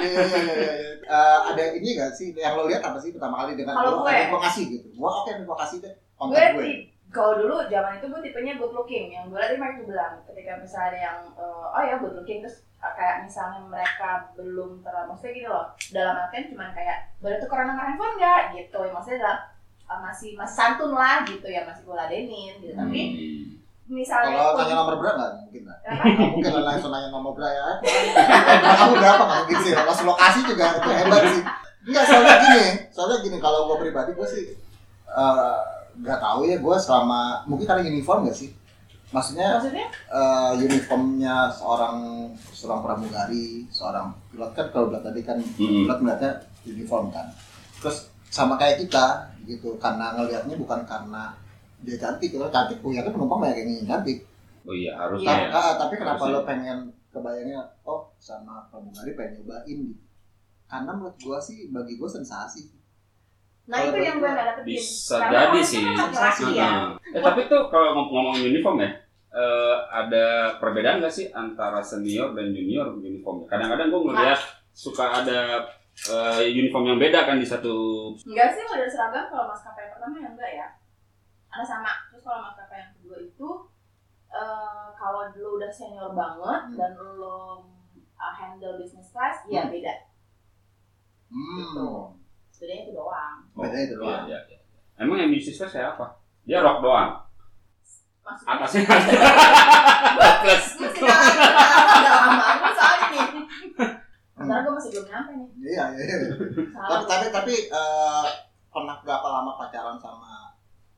A: Iya iya iya iya. iya. Eh, ada ini gak sih yang lo lihat apa sih pertama kali dengan lo
C: Kalau gue?
A: ada yang gue kasih gitu. Gua oke nih, gua kasih deh.
C: gue
A: Kontak gue.
C: ti- kalau dulu zaman itu gue tipenya good looking yang gue lihat mereka bilang ketika misalnya ada yang eh, oh ya good looking terus eh, kayak misalnya mereka belum terlalu maksudnya gini loh dalam artian cuman kayak boleh tukeran nomor handphone nggak gitu ya, maksudnya dalam eh, masih masih santun lah gitu ya masih gue ladenin gitu tapi
B: Hmm.
C: misalnya
A: Hmm. Kalau
C: pun-
A: tanya nomor berapa nggak mungkin lah.
C: apa?
A: Nggak mungkin lah langsung nanya nomor berapa ya. Nomor kamu berapa nggak mungkin sih. Pas lokasi juga itu hebat sih. Enggak soalnya gini, soalnya gini kalau gue pribadi gue sih eh, nggak tahu ya gue selama mungkin karena uniform gak sih. Maksudnya
C: maksudnya
A: eh, uniformnya seorang seorang pramugari, seorang pilot kan kalau udah tadi kan
B: Hmm.
A: pilot melihatnya uniform kan. Terus sama kayak kita gitu karena ngelihatnya bukan karena dia cantik, kalau cantik punya kan penumpang banyak yang ingin cantik.
B: Oh iya
A: Ta-
B: harusnya.
A: ah, tapi kenapa
B: Harusnya.
A: lo pengen kebayangnya oh sama pramugari pengen nyobain gitu. Karena menurut gua sih bagi gua sensasi.
C: nah
A: Kalau
C: itu yang gue
A: berdua
C: nggak dapetin
B: Bisa
C: Karena
B: jadi
C: orangnya
B: sih.
C: kan laki-laki ya
B: Heeh. Eh, tapi tuh kalau ngom- ngomong uniform ya, eh, ada perbedaan nggak sih antara senior dan junior uniformnya? Kadang-kadang gue ngeliat suka ada eh, uniform yang beda kan di satu
C: Enggak sih model seragam kalau maskapai yang pertama ya enggak ya. Karena sama. Terus kalau maskapai yang kedua itu eh kalau lo udah senior
A: Hmm.
C: banget dan lo uh, handle business class ya
A: Hmm.
C: beda.
A: Hmm.
C: Bedanya itu doang.
A: Bedanya itu doang.
B: Iya, iya, iya. Emang yang bisnis saya apa? Dia rok doang.
C: Maksudnya
B: Atasnya plus.
C: gue sekarang udah lama gue soalnya nih.
A: Hmm.
C: Sebentar gue masih belum nyampe nih.
A: Iya, iya, iya.
C: Salah.
A: tapi tapi tapi eh, pernah berapa lama pacaran sama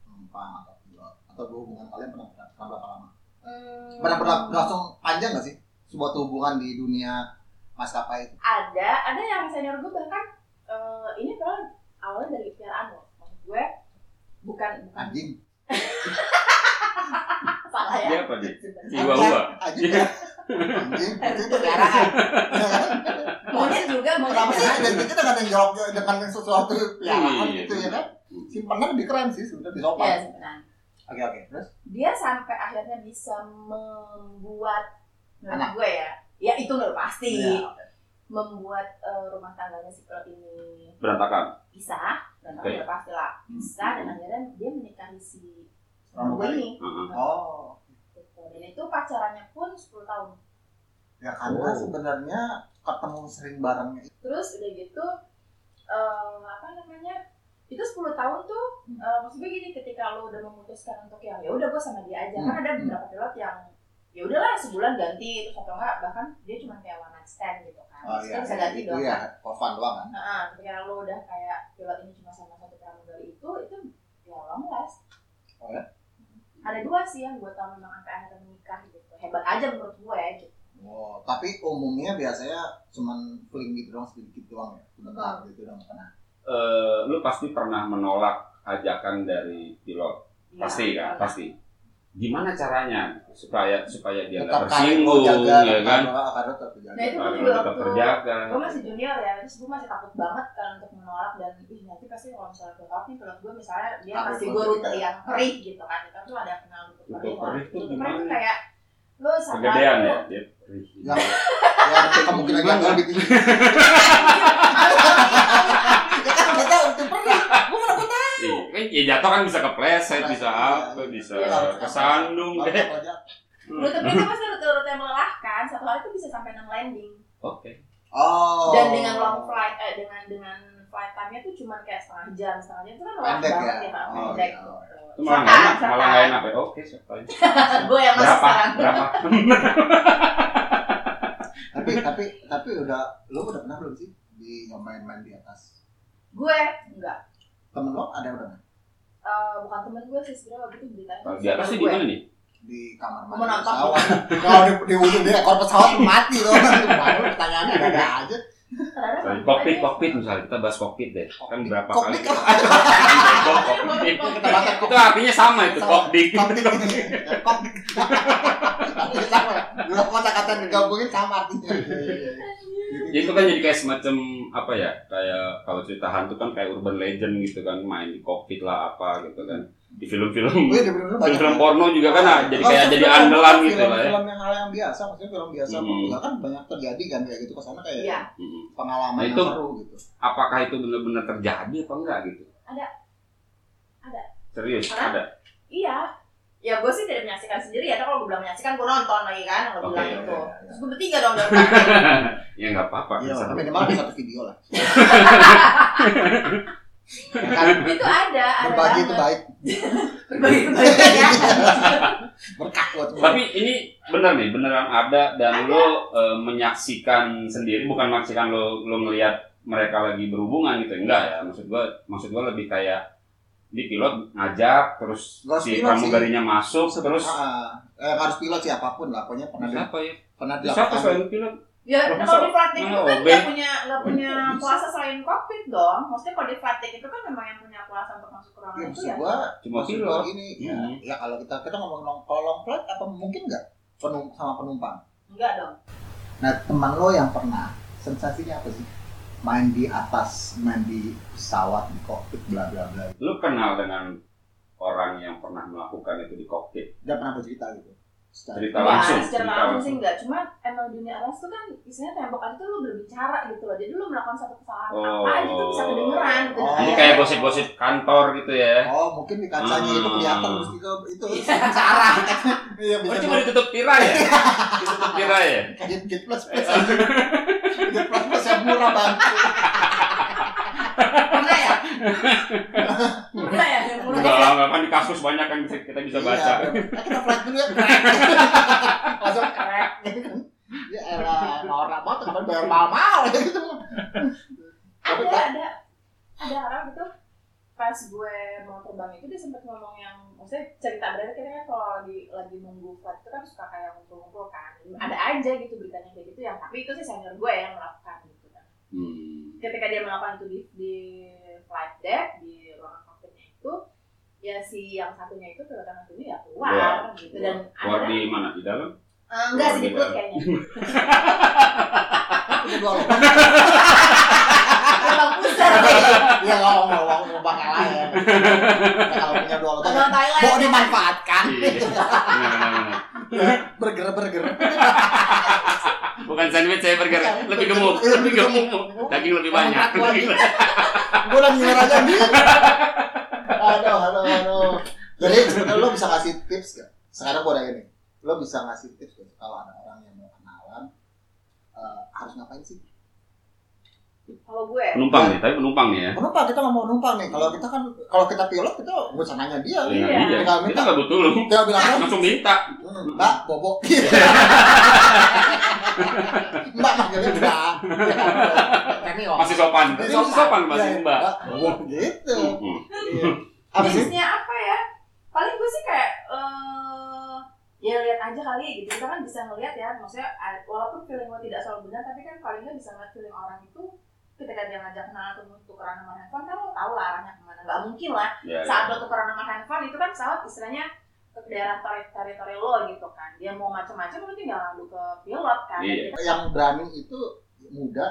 A: penumpang atau pilot atau hubungan kalian pernah pernah pernah berapa lama
C: Hmm,
A: pernah pernah langsung panjang nggak sih sebuah hubungan di dunia maskapai itu
C: ada ada yang senior gue bahkan eh, ini kalau awalnya dari piaraan loh maksud gue bukan bukan
A: anjing
C: salah ya.
B: Dia apa dia?
A: Iya.
B: Chihuahua.
A: anjing anjing itu
C: Peliharaan.
A: kendaraan
C: Monyet
A: Iya.
C: juga monyet.
A: kenapa sih
C: juga.
A: identik kita nggak ada yang jorok dengan sesuatu peliharaan
B: Iya,
A: gitu ya
B: benar.
A: kan simpanan lebih keren sih sebenarnya lebih sopan
C: Iya, sebenarnya.
A: oke oke terus
C: dia sampai akhirnya bisa membuat menurut
A: Anak.
C: gue ya ya itu udah pasti
A: Iya,
C: membuat eh, rumah tangganya si Pel ini
B: Berantakan.
C: pisah dan
B: Oke.
C: udah pasti lah pisah
A: Hmm.
C: dan akhirnya dia menikahi si gue
A: Pramugari.
C: ini
B: Heeh.
A: oh
C: gitu. dan itu pacarannya pun 10 tahun
A: ya karena
B: Oh.
A: sebenarnya ketemu sering barengnya
C: terus udah gitu eh, apa namanya itu 10 tahun tuh
A: Hmm.
C: eh, maksudnya gini ketika lo udah memutuskan untuk yang ya udah gue sama dia aja kan ada
A: Hmm.
C: beberapa pilot yang ya udahlah sebulan ganti terus atau enggak bahkan dia cuma kayak one night stand gitu kan
A: oh
C: Terus
A: iya
C: dia bisa ganti
A: itu
C: dong
A: ya for fun doang kan
C: Heeh, ketika lo udah kayak pilot ini cuma sama satu pramugari itu itu ya long last
A: Oh ya?
C: ada dua sih yang gue tau memang sampai akhirnya menikah gitu hebat aja menurut gue gitu
A: Oh, tapi umumnya biasanya cuman fling gitu doang sedikit doang ya. Bentar gitu doang pernah.
B: Eh, lu pasti pernah menolak ajakan dari pilot.
C: Iya.
B: Pasti
A: ya,
B: kan? Pasti. Gimana caranya supaya supaya dia nggak tersinggung ya kan?
A: Karena tetap terjaga.
C: Nah, itu gue
B: Karena
C: juga
B: tetap
C: waktu
B: terjaga.
C: gue masih junior ya terus gue masih takut banget kan untuk menolak dan ih nanti pasti kalau misalnya gue takut nih kalau gue misalnya dia
A: Takut
C: kasih
A: banget
C: gue rute
A: kita.
C: yang perih gitu kan itu tuh ada yang kenal lutut
B: Lutut ya.
C: perih
B: perih tuh
C: kan lutut perih itu
B: gimana?
C: kayak lo sama
B: Kegedean ya dia.
A: Yang yang Ya, kemungkinan gagal lebih tinggi. Ya kan kita udah pernah.
B: Iya, kan ya jatuh kan bisa kepleset, bisa apa, bisa
A: Iya, harus Iya.
B: kesandung
A: Baru
B: deh. Hmm.
A: apa aja.
C: lutut perih itu pasti rute rute yang melelahkan satu hari itu bisa sampai 6 landing
B: Oke.
A: Oh.
C: dan dengan long flight eh, dengan dengan flight time-nya tuh cuma kayak setengah jam setengah jam itu kan lelah
A: Pendek
C: banget
A: ya?
C: ya Pak,
A: Oh,
C: pendek
A: iya.
C: gitu
B: Itu malah nggak enak, malah nggak enak ya. Oke, siapa ini?
C: gue yang masuk
B: Berapa?
C: sekarang
B: Berapa? Hmm.
A: Tapi tapi tapi udah lu udah pernah belum sih di nyobain main di atas?
C: gue enggak
A: Temen lo ada udah nggak?
C: Eh, bukan temen gue sih sebenarnya waktu itu beritanya
B: Di atas sih gitu. di mana nih?
A: di kamar
C: Mau
A: mandi
C: nonton?
A: pesawat. Kalau di di ujung dia ekor pesawat mati tuh. Baru pertanyaannya ada aja.
C: Ternyata
B: Kokpit, kokpit misalnya kita bahas kokpit deh. Kan berapa kali?
A: Kokpit apa?
B: Kokpit. Itu artinya sama itu kokpit.
A: Konflik ini. Konflik. Tapi sama ya. Dua kata-kata digabungin sama artinya.
B: Ya, itu kan jadi kayak semacam apa ya kayak kalau cerita hantu kan kayak urban legend gitu kan main di kokpit lah apa gitu kan di film-film
A: Gue udah bener-bener banyak.
B: film-film porno juga kan ah, jadi kayak
A: Maksudnya
B: jadi
A: film- iya.
B: andalan
A: Oh, film-
B: gitu lah ya
A: Film yang hal yang biasa, maksudnya film biasa
B: Hmm.
A: juga kan banyak terjadi kan kayak gitu kesana kayak
C: Iya,
B: Mm.
A: pengalaman
B: Nah,
A: yang
B: itu-
A: seru gitu.
B: apakah itu benar-benar terjadi apa enggak gitu
C: Ada. Ada.
B: serius
C: Hah?
B: ada
C: iya. Ya gue sih tidak menyaksikan sendiri ya, kalau gue bilang menyaksikan gue nonton lagi kan, kalau
B: Oke,
C: bilang
B: iya,
C: itu.
A: iya, iya.
C: Terus gue bertiga dong dari
B: ya nggak apa-apa
A: Iya,
B: bisa
A: tapi
B: terjadi.
A: minimal ada satu video lah. Ya kan?
C: Itu ada, ada
A: Berbagi itu
C: banget.
A: baik,
C: Berbagi itu baik. ya.
A: berkah buat semua.
B: tapi ini benar nih beneran ada dan
C: Ada.
B: lo eh, menyaksikan sendiri bukan menyaksikan lo lo melihat mereka lagi berhubungan gitu enggak ya maksud gua maksud gua lebih kayak di pilot ngajak terus
A: Gak harus
B: si
A: pilot
B: pramugarinya masuk terus
A: Ah, eh, harus pilot siapapun lah, pokoknya pernah di-
B: siapa ya
A: pernah
B: siapa
A: dilakukan.
B: selain pilot
C: Ya,
B: Loh, masa-
C: kalau di flight deck itu
B: masa
C: kan
B: OB?
C: nggak punya nggak punya
A: Oh, bisa.
C: kuasa selain kokpit dong. Maksudnya kalau di flight deck itu kan memang yang punya kuasa untuk masuk ke ruangan
A: Ya,
C: itu
A: maksud
C: ya.
A: gua
B: cuma
A: Maksud gua
B: pilot
A: gini, ya,
B: Hmm.
A: ya kalau kita kita ngomong long, kalau long flight apa mungkin nggak penum, sama penumpang?
C: Enggak dong.
A: Nah teman lo yang pernah sensasinya apa sih? Main di atas, main di pesawat, di kokpit, bla bla bla.
B: lo kenal dengan orang yang pernah melakukan itu di kokpit
A: Udah pernah bercerita gitu? Secara
B: cerita langsung
C: Ya, secara
B: cerita
C: langsung sih
B: langsung.
C: enggak. Cuma emang dunia alas tuh kan isinya tembakan itu lu berbicara gitu loh. Jadi lu melakukan satu kesalahan apa
B: Oh.
C: gitu bisa kedengeran. gitu.
A: Oh.
B: Jadi kayak gosip-gosip kantor gitu ya.
A: Oh mungkin di kacanya itu
B: Hmm.
A: kelihatan mesti itu itu cara. Iya
B: Oh,
A: bisa.
B: cuma ditutup tirai ya? ditutup tirai ya?
A: Kayak git plus plus. Git plus plus yang murah banget.
C: Pernah ya? Pernah ya? Yang murah.
B: Enggak lah, enggak kan di kasus banyak kan bisa- kita bisa baca.
A: Iya, bener. Eh, kita flat dulu ya. Langsung krek. Ya elah, norak banget kemarin bayar mahal-mahal ya gitu. Tapi
C: ada
A: tak-
C: ada ada orang gitu pas gue mau terbang itu dia sempat ngomong yang maksudnya cerita berarti kita kan kalau lagi lagi nunggu flight itu kan suka kayak ngumpul-ngumpul kan ada aja gitu beritanya kayak gitu yang tapi itu sih senior gue yang melakukan gitu kan
B: Hmm.
C: ketika dia melakukan itu di, di flight deck di ruangan kokpitnya itu ya si yang satunya itu kedatangan dulu ya keluar gitu dan
B: Iya. Keluar
C: ada
B: di mana? Di dalam?
C: Eh, enggak sih di
B: Keluar di
C: perut
B: kan.
C: kayaknya
A: Itu dua lubang.
C: abang pusar
A: Ya kalau mau lubang lubang yang lain. Ya, Kalau punya dua lubang.
C: abang Thailand
A: Mau dimanfaatkan.
B: Iya. Benar, benar, benar.
A: Berger berger.
B: Bukan sandwich saya burger, lebih gemuk,
A: Iya.
B: lebih gemuk. Daging lebih banyak. Daging lebih-
A: Gue lagi nyinyir aja nih. Aduh, aduh, aduh. Jadi sebenarnya lo bisa ngasih tips gak? Sekarang gue nanya nih. Lo bisa ngasih tips gak? Kalau ada orang yang mau kenalan, eh, harus ngapain sih?
C: kalau gue
B: Penumpang nih, tapi penumpang nih ya.
A: Penumpang kita nggak mau numpang nih. Kalau kita kan, kalau kita pilot kita nggak usah nanya dia.
B: Iya,
C: Iya.
B: iya.
A: Tinggal
B: Kita
A: minta.
B: nggak butuh lu.
A: Kita bilang "Oh,
B: Langsung minta.
A: Hmm, Mbak, bobok. Mbak manggilnya Mbak. Kami
B: Masih sopan.
A: Iya.
B: Masih sopan masih mbak. Hmm,
A: Bobok gitu.
B: Mm-mm.
A: Iya. Abis itu
C: tipsnya apa ya paling gue sih kayak eh ya lihat aja kali gitu kita kan bisa ngelihat ya maksudnya a- walaupun feeling lo tidak selalu benar tapi kan paling nggak bisa ngeliat feeling orang itu ketika dia ngajak kenalan atau tukeran nomor handphone kan lo tau lah arahnya kemana nggak mungkin lah
B: Iya, iya.
C: saat lo tukeran nomor handphone itu kan pesawat istilahnya ke daerah tori- teritori lo gitu kan dia mau macam-macam lo tinggal ngadu ke pilot kan Dan
B: Iya.
C: kita-
A: yang berani itu muda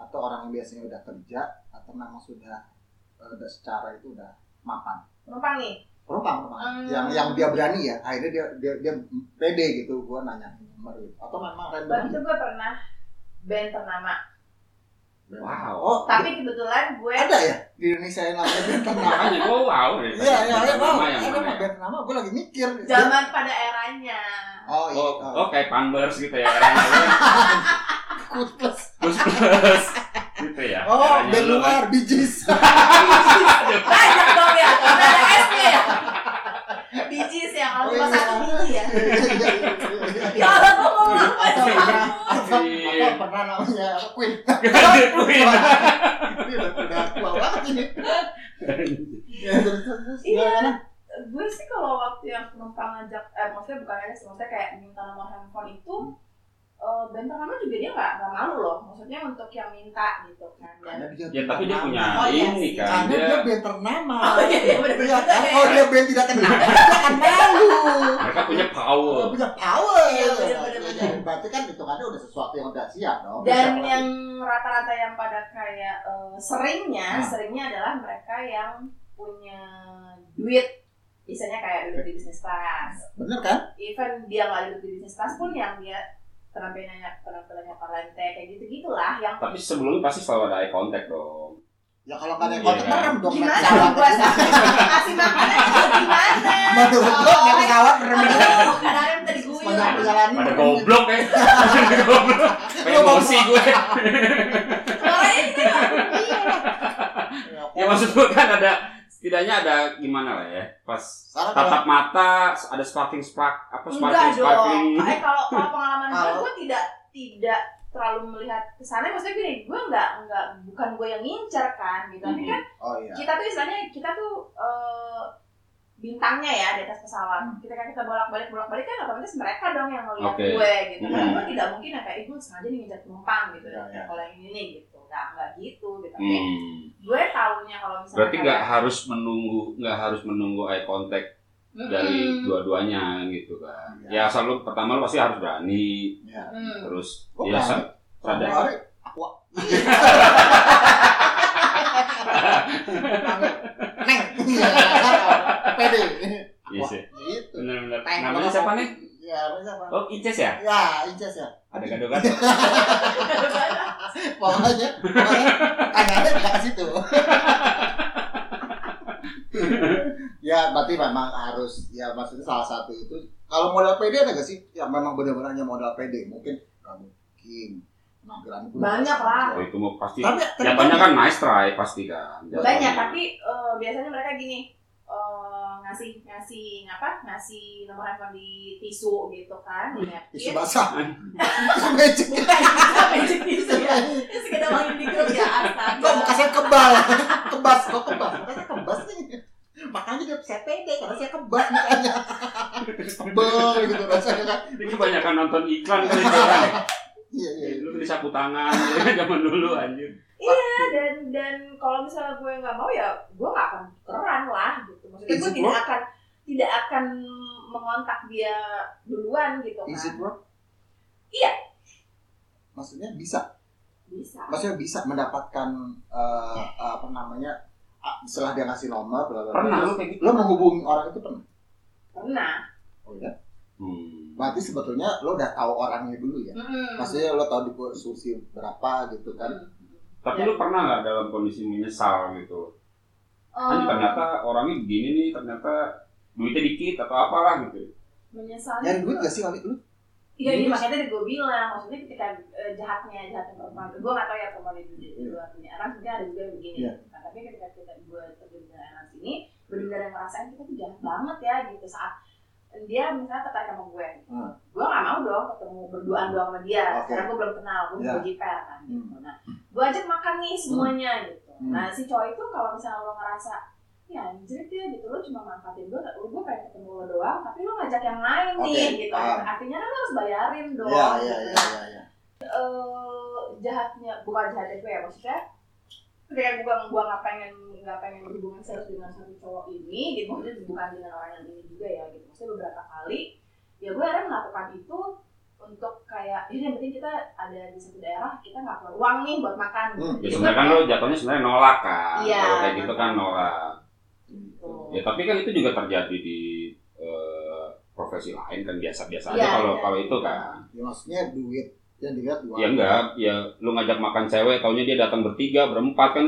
A: atau orang yang biasanya udah kerja atau memang sudah eh, udah secara itu udah mapan.
C: penumpang nih
A: Penumpang, penumpang.
C: Hmm.
A: Yang yang dia berani ya. Akhirnya dia dia dia pede gitu gua nanya nomor gitu. Atau memang
C: waktu itu
A: random.
C: gue pernah band ternama
B: Wow.
A: Oh, tapi
C: tapi kebetulan gue
A: ada ya di Indonesia yang namanya band ternama.
B: Makanya gue wow. deh.
A: Iya, iya, iya,
B: Nama
A: wow.
B: yang
A: Ada
B: mana
A: mah
B: ya?
A: band nama, gue lagi mikir.
C: zaman pada eranya
A: Oh, iya.
B: Oh,
A: Oh,
B: oh kayak Pampers gitu ya. Eranya.
A: Kut plus.
B: Plus plus. Gitu ya.
A: Oh,
B: Eranya
A: band
B: lu kan.
A: luar, bijis.
C: banyak dong ya karena ada S-nya ya biji sih yang kalau cuma
A: Oh, iya.
C: satu biji ya ya
A: Atau
C: Allah gue ngomong apa sih
A: pernah, atau
B: Iya.
A: atau pernah namanya apa, Queen. Iya.
B: Queen.
A: Ini udah udah tua banget ini. Ya, terus terus.
C: Iya.
A: gimana?
C: gue sih kalau waktu yang penumpang ngajak eh maksudnya bukan aja sih maksudnya kayak minta nomor handphone itu
A: Hmm.
C: eh band pertama juga dia nggak nggak malu loh maksudnya untuk yang minta gitu kan
A: Karena
C: dan
A: dia
B: Ya tapi dia
A: band
B: punya
A: ternama.
C: Oh, iya
B: ini
C: sih.
B: kan.
A: Karena dia
B: Dia
A: band ternama.
C: oh iya iya benar
A: Iya,
C: benar
A: kan? Kalau dia band tidak ternama, dia akan malu.
B: mereka punya
A: Udah
B: power.
A: punya power.
C: Iya, bener-bener.
A: Iya, iya. Berarti kan itu kan udah sesuatu yang udah siap dong.
C: dan
A: Siap
C: yang rata-rata yang pada kayak eh, seringnya
A: Hmm.
C: seringnya adalah mereka yang punya duit biasanya kayak duduk di bisnis kelas
A: lagi. bener kan?
C: even dia nggak duduk di bisnis kelas pun yang dia penampilannya penampilannya parlente kayak gitu gitulah yang
B: Tapi sebelumnya pasti selalu ada eye contact dong.
A: Ya kalau nggak ada yang
B: Iya.
A: kontak merem dong. naik
C: gimana
A: pesawat.
C: dong gua kasih makanan juga gimana
A: Menurut
C: Oh,
A: gua naik pesawat merem dulu.
C: aduh kadang tadi gue
A: Sepanjang perjalanan.
B: Pada
A: merem.
B: goblok ya. Pada goblok.
C: oh.
B: Emosi gue.
C: suaranya gitu
A: Iya lah. iya.
B: Ya maksud gue kan ada setidaknya ada gimana lah ya. Pas
A: Sekarang kalau-
B: tatap mata ada sparkling spark apa
C: enggak
B: sparkling sparkling
C: dong eh kalau kalau pengalaman gue
A: Kalau-
C: gue tidak tidak terlalu melihat kesana maksudnya gini gue nggak nggak bukan gue yang ngincer kan gitu tapi
B: Mhm.
C: kan
A: Oh iya.
C: kita tuh istilahnya kita tuh eh, bintangnya ya di atas pesawat kita kan kita bolak balik bolak balik kan otomatis mereka dong yang ngeliat
B: Oke.
C: gue gitu kan
B: Hmm.
C: gue tidak mungkin yang kayak "Ih, gue sengaja nih ngejar penumpang gitu
A: Ya, ya.
C: kalau yang ini gitu nggak nggak gitu gitu tapi
B: Hmm.
C: gue taunya kalau misalnya
B: Berarti nggak
C: kayak,
B: harus menunggu nggak harus menunggu eye contact
C: "Mm-mm,
B: dari dua-duanya gitu kan.
A: Iya.
B: Ya asal lu pertama lu pasti harus berani
A: Iya.
C: mm."
B: terus
A: Gua
B: ya
A: berani.
B: sa- sadar.
A: Pramugari, aqua. Neng. Pede.
B: Iya sih.
A: Gitu.
B: Benar-benar.
A: Tank,
B: Namanya
A: kalau-
B: siapa nih?
A: Ya, namanya siapa?
B: Oh, Ices ya?
A: Ya, Inces ya.
B: Ada kan? gado-gado.
A: Pokoknya, pokoknya tangannya dekat ke situ. ya, berarti memang harus ya maksudnya salah satu itu kalau modal pede ada gak sih? Ya memang benar-benar hanya modal pede. Mungkin nggak mungkin. Penampilan pun-
C: Banyak lah.
B: Oh, itu mau pasti.
A: Tapi
B: Jatuhnya kan nice try pasti kan.
C: banyak tapi eh, biasanya mereka gini eh, ngasih ngasih apa ngasih nomor handphone di tisu gitu kan di
A: Isu
C: napkin
A: Iya. basah. Isu magic.
C: bukan bukan magic tisu ya Terus sekedar mangin di grup ya astaga
A: Kok saya kebal? Kebas kok kebas? Makanya kebas nih. Makanya dia saya pede karena saya kebas makanya. Kebal gitu rasanya kan.
B: Ini kebanyakan nonton iklan kali itu kan.
A: Iya iya.
B: Lu beli sapu tangan ya, gitu kan, zaman dulu anjir.
C: Iya dan dan kalau misalnya gue nggak mau ya gue nggak akan keran lah gitu. Maksudnya gue
A: Insecure?
C: tidak akan tidak akan mengontak dia duluan gitu
A: Is it
C: kan.
A: work?
C: Iya.
A: Maksudnya bisa.
C: Bisa.
A: Maksudnya bisa mendapatkan eh, apa namanya? ah, Setelah dia ngasih nomor, bla bla bla.
B: Pernah
A: Lo,
B: lu kayak gitu?
A: lo menghubungi orang itu pernah?
C: Pernah.
A: Oh ya.
B: Hmm.
A: Berarti sebetulnya lo udah tahu orangnya dulu ya.
C: Mm.
A: Maksudnya lo tahu di posisi berapa gitu
C: Hmm.
A: kan?
B: Tapi
C: Ya.
B: lu pernah nggak dalam kondisi menyesal gitu? Anjir
C: Em,
B: ternyata orangnya begini nih, ternyata duitnya dikit atau apalah gitu.
C: menyesalnya
A: Nyari duit
C: juga.
A: gak sih kali lu?
C: Iya, iya makanya tadi gue bilang, maksudnya ketika eh, jahatnya jahatnya perempuan, gue gak tahu ya perempuan itu di di luar dunia Arab sebenarnya ada juga yang begini.
A: Iya.
C: Nah, tapi ketika kita gue terjun dengan Arab sini, benar-benar yang ngerasain kita tuh jahat banget ya gitu saat dia misalnya tertarik sama gue,
A: Hmm.
C: gue gak mau dong ketemu berduaan doang sama dia,
A: Oke.
C: karena gue belum kenal, gue
A: Iya.
C: yeah. jiper kan. Gitu. Nah, gue ajak makan nih semuanya gitu.
A: Hmm.
C: Nah si cowok itu kalau misalnya lo ngerasa ya anjir dia gitu lo cuma manfaatin gue, lo gue pengen ketemu lo doang, tapi lo ngajak yang lain
A: Oke,
C: nih gitu.
A: paham.
C: Artinya kan lo harus bayarin dong.
A: Iya, iya,
C: gitu.
A: iya, iya. Ya.
C: Eh, jahatnya bukan jahatnya gue ya maksudnya ketika gue gue nggak pengen nggak pengen berhubungan serius dengan satu cowok ini gitu maksudnya bukan dengan orang yang ini juga ya gitu maksudnya beberapa kali ya gue akhirnya melakukan itu untuk kayak ini yang penting kita ada di satu daerah kita nggak keluar uang nih buat makan Gitu.
A: Hmm,
B: Ya
C: Jadi
B: sebenarnya kan
C: gue
B: lo jatuhnya sebenarnya nolak kan.
C: Iya.
B: Kalau kayak gitu kan nolak.
C: gitu.
B: Ya tapi kan itu juga terjadi di eh, profesi lain kan biasa-biasa aja
C: Iya,
B: kalau
C: iya.
B: kalau itu kan.
A: Ya, maksudnya duit yang dilihat dua.
B: Ya enggak, ya lu ngajak makan cewek, taunya dia datang bertiga, berempat kan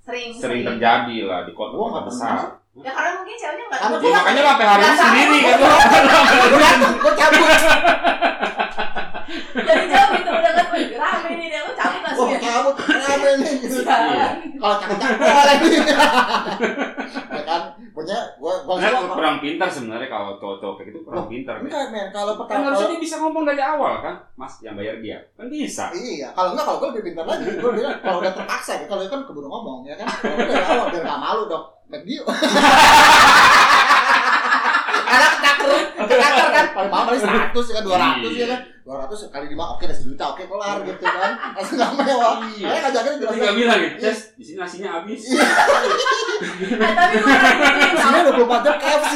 C: sering
B: sering terjadi lah di
A: Gua nggak
B: kota-kota
A: pernah
B: besar.
C: ya karena mungkin ceweknya nggak
A: Kan
B: Ya makanya lah PHR lu
C: Nggak tahu.
B: sendiri kan lo.
A: Gue datang, gue cabut.
C: dari jauh gitu udah kan "Wih, rame nih dia lo cabut
A: Gue
C: langsung ya
A: cabut. Kenapa ini? Gitu.
B: Iya.
A: Kalau cakep-cakep boleh nih. Ya kan, punya gue gue
B: Sebenarnya lu kurang pintar sebenarnya kalau cowok-cowok kayak gitu kurang pintar. Kan
A: Enggak men, kalau pertama
B: harusnya
A: kalau
B: dia bisa ngomong dari awal kan, Mas yang bayar dia. Kan bisa.
A: Iya, kalau enggak kalau gue lebih pintar lagi, gue bilang kalau udah terpaksa, ya. kalau itu kan keburu ngomong ya kan, kalau udah dari awal biar nggak malu dong, thank you. Karena ketakar, ketakar kan, paling mahal paling seratus ya kan, dua ratus ya kan, dua ratus kali lima oke dah sejuta oke kelar gitu kan, langsung nggak mewah. Saya
B: Iya.
A: ngajakin
B: Terus
A: bilang,
B: nggak bilang gitu, Ces, di sini nasinya habis.
C: Nah, tapi gue lagi
A: sini dua puluh empat jam KFC.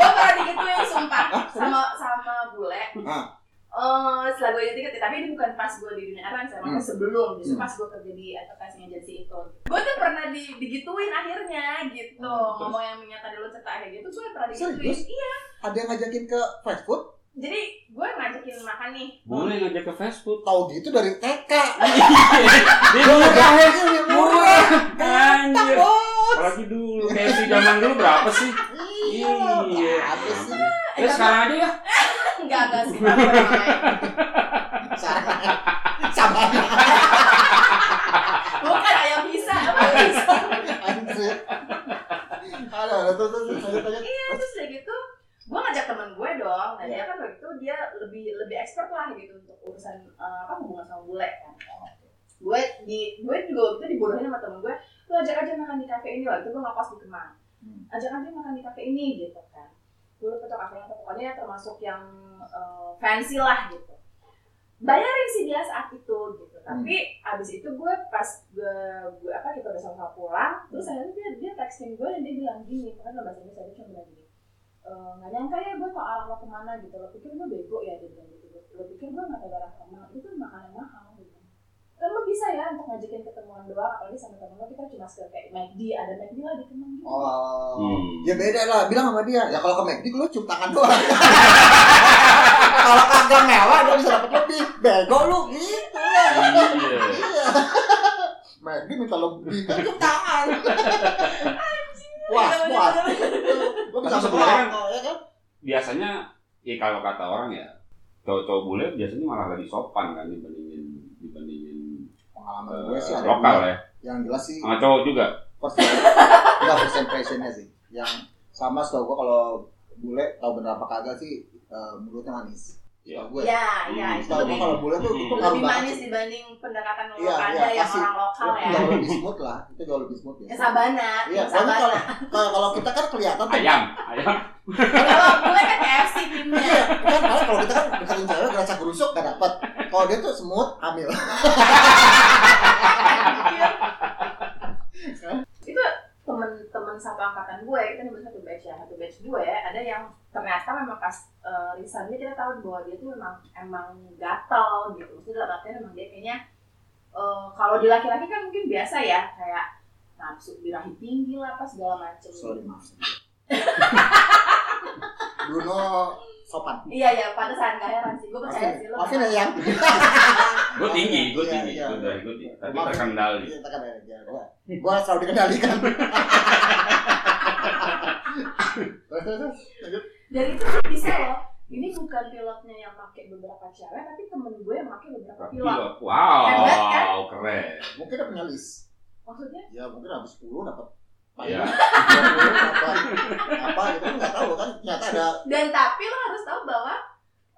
C: gue pernah digituin sumpah sama sama bule
A: Ah.
C: Eh, setelah gue jadi tiket tapi ini bukan pas gue di dunia Arans emang
A: Hmm.
C: sebelum justru
A: Hmm.
C: pas gue kerja di advertising agency itu gue tuh pernah di, digituin akhirnya gitu
A: Hmm, terus?
C: ngomong yang minyak tadi lo cerita kayak gitu gue pernah digituin
A: Serius?
C: iya
A: Ada yang ngajakin ke fast food,
C: jadi gue ngajakin makan nih Eh,
B: Boleh ngajak ke fast food.
A: tahu gitu dari Iya, TK.
B: Dia
A: Gue
B: murah.
A: ngajakin yang murah, tak
B: Anjir.
A: bos.
B: Apalagi dulu KFC zaman dulu berapa sih?
A: Iya,
B: Iya.
A: habis sih.
B: Ya sekarang aja ya.
C: enggak enggak sih enggak pernah main.
A: Sama, sama.
C: bukan ayam bisa ayam bisa
A: Anjir. Ada ada tuh tuh lanjut lanjut.
C: iya terus udah gitu gue ngajak temen gue dong nah dia kan waktu itu dia lebih lebih expert lah gitu untuk urusan eh, apa hubungan sama bule kan gue di gue juga waktu itu dibodohin sama temen gue lu ajak aja makan di kafe ini waktu itu gue ngekos di Kemang
A: Hmm.
C: ajak aja makan di kafe ini gitu kan dulu tuh kafe yang pokoknya termasuk yang eh, fancy lah gitu bayarin sih dia saat itu gitu tapi abis itu gue pas gue, gue apa kita udah sama pulang terus akhirnya dia dia texting gue dan dia bilang gini karena dalam bahasa Inggris dia cuma bilang gini "Eh, nggak nyangka ya gue tau arah lo kemana gitu lo pikir gue bego ya dia bilang gitu lo pikir gue nggak tau arah kemana itu kan makanan mahal gitu kan lo bisa ya untuk ngajakin ketemuan doang apalagi sama temen lo kita cuma sekedar kayak McD ada McD lah di Kemang gitu
A: Oh.
B: Hmm.
A: Ya beda lah, bilang sama dia. Ya kalau ke McD lu cium tangan doang. kalau kagak mewah lu bisa dapat lebih. Bego lu gitu lah.
B: Iya.
A: Iya. McD minta lebih kan cium tangan. Puas, puas. Lu bisa sebelah
B: Tapi sebenarnya-
C: Oh, iya,
A: ya kan?
B: Biasanya ya kalau kata orang ya cowok-cowok bule biasanya malah lebih sopan kan dibandingin dibandingin
A: Pengalaman gue Iya sih
B: eh,
A: ada
B: lokal
A: dua.
B: ya.
A: yang jelas sih
B: Sama cowok juga.
A: first enggak first impressionnya sih yang sama setahu gua kalau bule tahu bener apa kagak sih eh, mulutnya manis
B: Iya.
A: Setahu gue
C: ya ya
B: Hmm,
C: itu
A: setahu gua
C: lebih
A: kalau bule tuh itu
B: lebih
A: ngaruh
C: lebih
A: banget
C: manis
A: sih.
C: dibanding pendekatan lo
A: Iya,
C: ada
A: iya,
C: yang
A: pasti.
C: orang lokal
A: Itu
C: ya
A: jauh lebih smooth lah itu jauh lebih smooth
C: ke
A: ya
C: Sabana
A: Iya,
C: ke
A: soalnya kalau,
C: Sabana
A: kalau kalau kita kan kelihatan tuh.
B: Ayam, ayam.
C: kalau gue kan KFC timnya
A: Iya, kan malah kalau kita kan deketin cewek gerasa gerusuk gak dapet. Kalau dia tuh smooth, hamil.
C: angkatan gue kita nyebut satu batch ya satu batch gue ada yang ternyata memang pas eh, risetnya kita tahu bahwa dia tuh memang emang gatal gitu maksudnya dalam artian memang dia kayaknya eh, kalau di laki-laki kan mungkin biasa ya kayak nafsu birahi tinggi lah pas segala macem
A: sorry maaf Bruno sopan
C: iya iya pantesan gak heran sih gue percaya sih lo
A: Maafin ya yang
B: Gue tinggi, gue
A: Iya,
B: tinggi,
A: iya.
B: gue dari gue tinggi. Tapi
A: Maafin.
B: terkendali.
A: Iya, tekan aja. Ya, gua, gua selalu dikendalikan. Terus, terus, terus. Lanjut.
C: dan itu bisa loh ini bukan pilotnya yang pakai beberapa cewek tapi temen gue yang pakai beberapa pilot
B: Pilot. Wow,
C: Hebat, kan?
B: keren.
A: Mungkin ada punya list.
C: maksudnya
A: Ya mungkin habis 10 dapat
B: Iya.
A: apa apa gitu kan nggak tahu kan ternyata ada
C: dan tapi lo harus tahu bahwa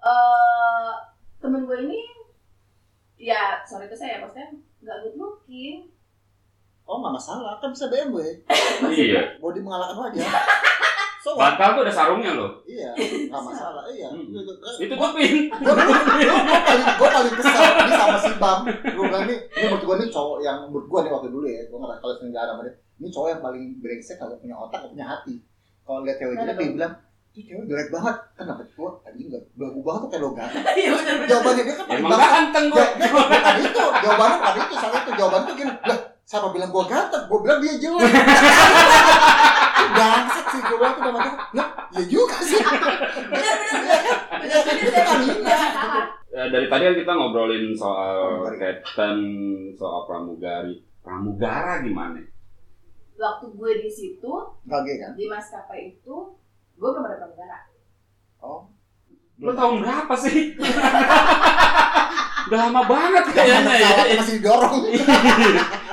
C: eh temen gue ini ya sorry itu saya maksudnya nggak good looking
A: oh nggak masalah kan bisa BMW
B: Iya.
A: body mengalahkan wajah so what?
B: Bantal tuh ada sarungnya loh.
A: iya nggak masalah iya
B: Hmm.
A: Gitu kan.
B: Itu tuh pin.
A: gue paling gue paling kesal ini sama si Bam gue bilang nih ini menurut gue nih cowok yang menurut gue nih waktu dulu ya gue nggak kalau senjata sama dia ini cowok yang paling brengsek kalau punya otak nggak punya hati kalau lihat cewek jelek dia bilang ini cewek jelek banget Kan kenapa gue anjing nggak belagu banget tuh kayak lo ganteng
C: iya benar
A: jawabannya dia kan paling
B: Emang
A: banget
B: ganteng gue.
A: Ya, ya, bukan itu jawabannya bukan itu salah itu jawabannya tuh gini lah siapa bilang gue ganteng gue bilang dia jelek Itu bangsat sih gue bilang tuh dalam hati lah ya juga sih
C: benar
A: Iya kan? Iya kan? Itu kan hina.
B: Eh, dari tadi kan kita ngobrolin soal
A: iya. Pramugari.
B: captain, soal pramugari. Pramugara gimana?
C: waktu gue di situ
A: Gage kan
C: di maskapai itu gue belum ada pramugara
A: oh
B: Lo tahun berapa sih? Udah lama banget
A: yang
B: kayaknya
A: mana
B: ya.
A: pesawat masih dorong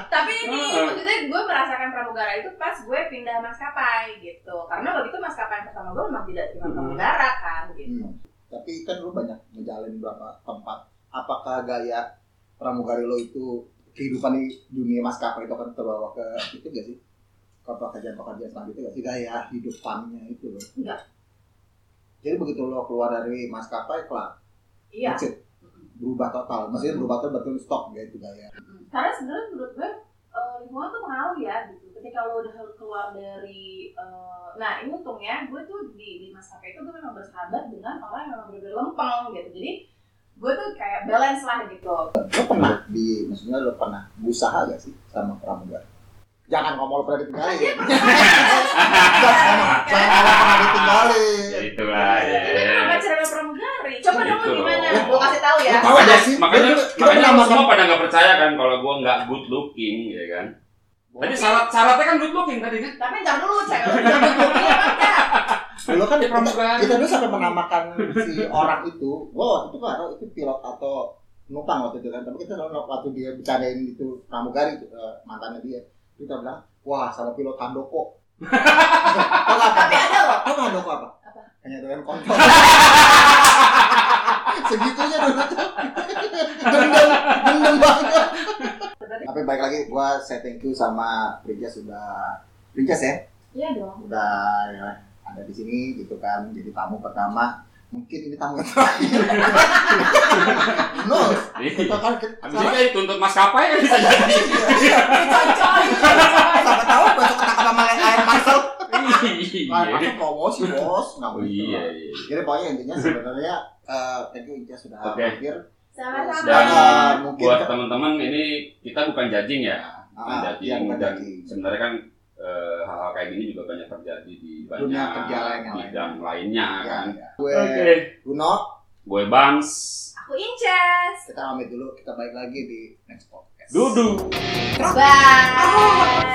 C: tapi ini
B: Heeh.
C: maksudnya gue merasakan pramugara itu pas gue pindah maskapai gitu karena waktu itu maskapai yang pertama gue memang tidak terima
B: Hmm.
C: pramugara kan gitu
A: Hmm. Tapi kan lu banyak ngejalanin berapa tempat. Apakah gaya pramugari lo itu kehidupan di dunia maskapai itu akan terbawa ke itu gak sih? Ke pekerjaan-pekerjaan selanjutnya gak sih? Gaya hidupannya itu loh.
C: Enggak.
A: Jadi begitu lo keluar dari maskapai, kelar.
C: iya
A: That's it. Berubah total. Maksudnya berubah total betul stok gaya itu gaya.
C: Mm. karena sebenarnya menurut gue eh, lingkungan tuh pengaruh ya gitu ketika lo udah keluar dari eh, nah ini untungnya gue tuh di di maskapai itu gue memang bersahabat dengan orang yang memang bener-bener lempeng gitu jadi gue tuh kayak balance lah gitu
A: Lo pernah di, maksudnya lo pernah berusaha gak sih sama pramugari? Jangan ngomong lo pernah ya. ditinggalin. Jangan ngomong lo pernah ditinggalin.
B: Ya itulah ya.
C: ini kenapa cerita pramugari coba dong lo
B: Gitu
C: gimana
B: loh.
C: gue kasih tahu ya
A: Lo tahu gak sih?
B: Makanya
A: Kita- kita
B: makanya lo
A: menambahkan-
B: semua pada nggak percaya kan kalau gua nggak good looking ya kan. Tadi syarat syaratnya kan good looking tadi kan.
C: tapi ntar dulu cewek lo bilang gue gokil apa enggak
A: Dulu kan
B: Ya, pramugari.
A: kita dulu sampai menamakan si orang itu, gua waktu itu nggak tahu itu pilot atau numpang waktu itu kan, tapi kita tahu waktu dia bercandain itu pramugari eh, mantannya dia, kita bilang, wah sama pilot Handoko. Tahu nggak apa?
C: tapi ada loh
A: Tahu Handoko apa?
C: Apa?
A: Hanya doyan kontol. Segitunya dulu tuh. Dendam, dendam banget. Tapi baik lagi, gua saya thank you sama Rija sudah, Rija ya,
C: iya dong
A: udah ya, ada di sini gitu kan jadi tamu pertama mungkin ini tamu yang terakhir no kita kan
B: Iya. Habis itu kayak dituntut maskapai kan bisa jadi.
C: coy
A: siapa tahu besok ketangkap sama air Marcel air
B: Iya.
A: Marcel promosi bos nggak
B: Oh
A: boleh gitu
B: iya
A: lah.
B: iya.
A: jadi pokoknya intinya sebenarnya eh, thank you Inca sudah
B: Oke.
A: hampir
B: Dan
C: sama-sama
A: Sudah.
B: eh,
A: Mungkin-
B: buat teman-teman ini kita bukan judging ya, bukan
A: Ah, iya,
B: judging
A: bukan
B: dan
A: judging.
B: sebenarnya kan eh, hal-hal kayak gini juga banyak terjadi di banyak
A: Dunia kerja lain yang
B: bidang lainnya
A: Ya,
B: kan.
A: ya. gue
B: Oke,
A: Bruno
B: gue Bams,
C: aku inces
A: kita pamit dulu kita balik lagi di next podcast
B: Dudu.
C: bye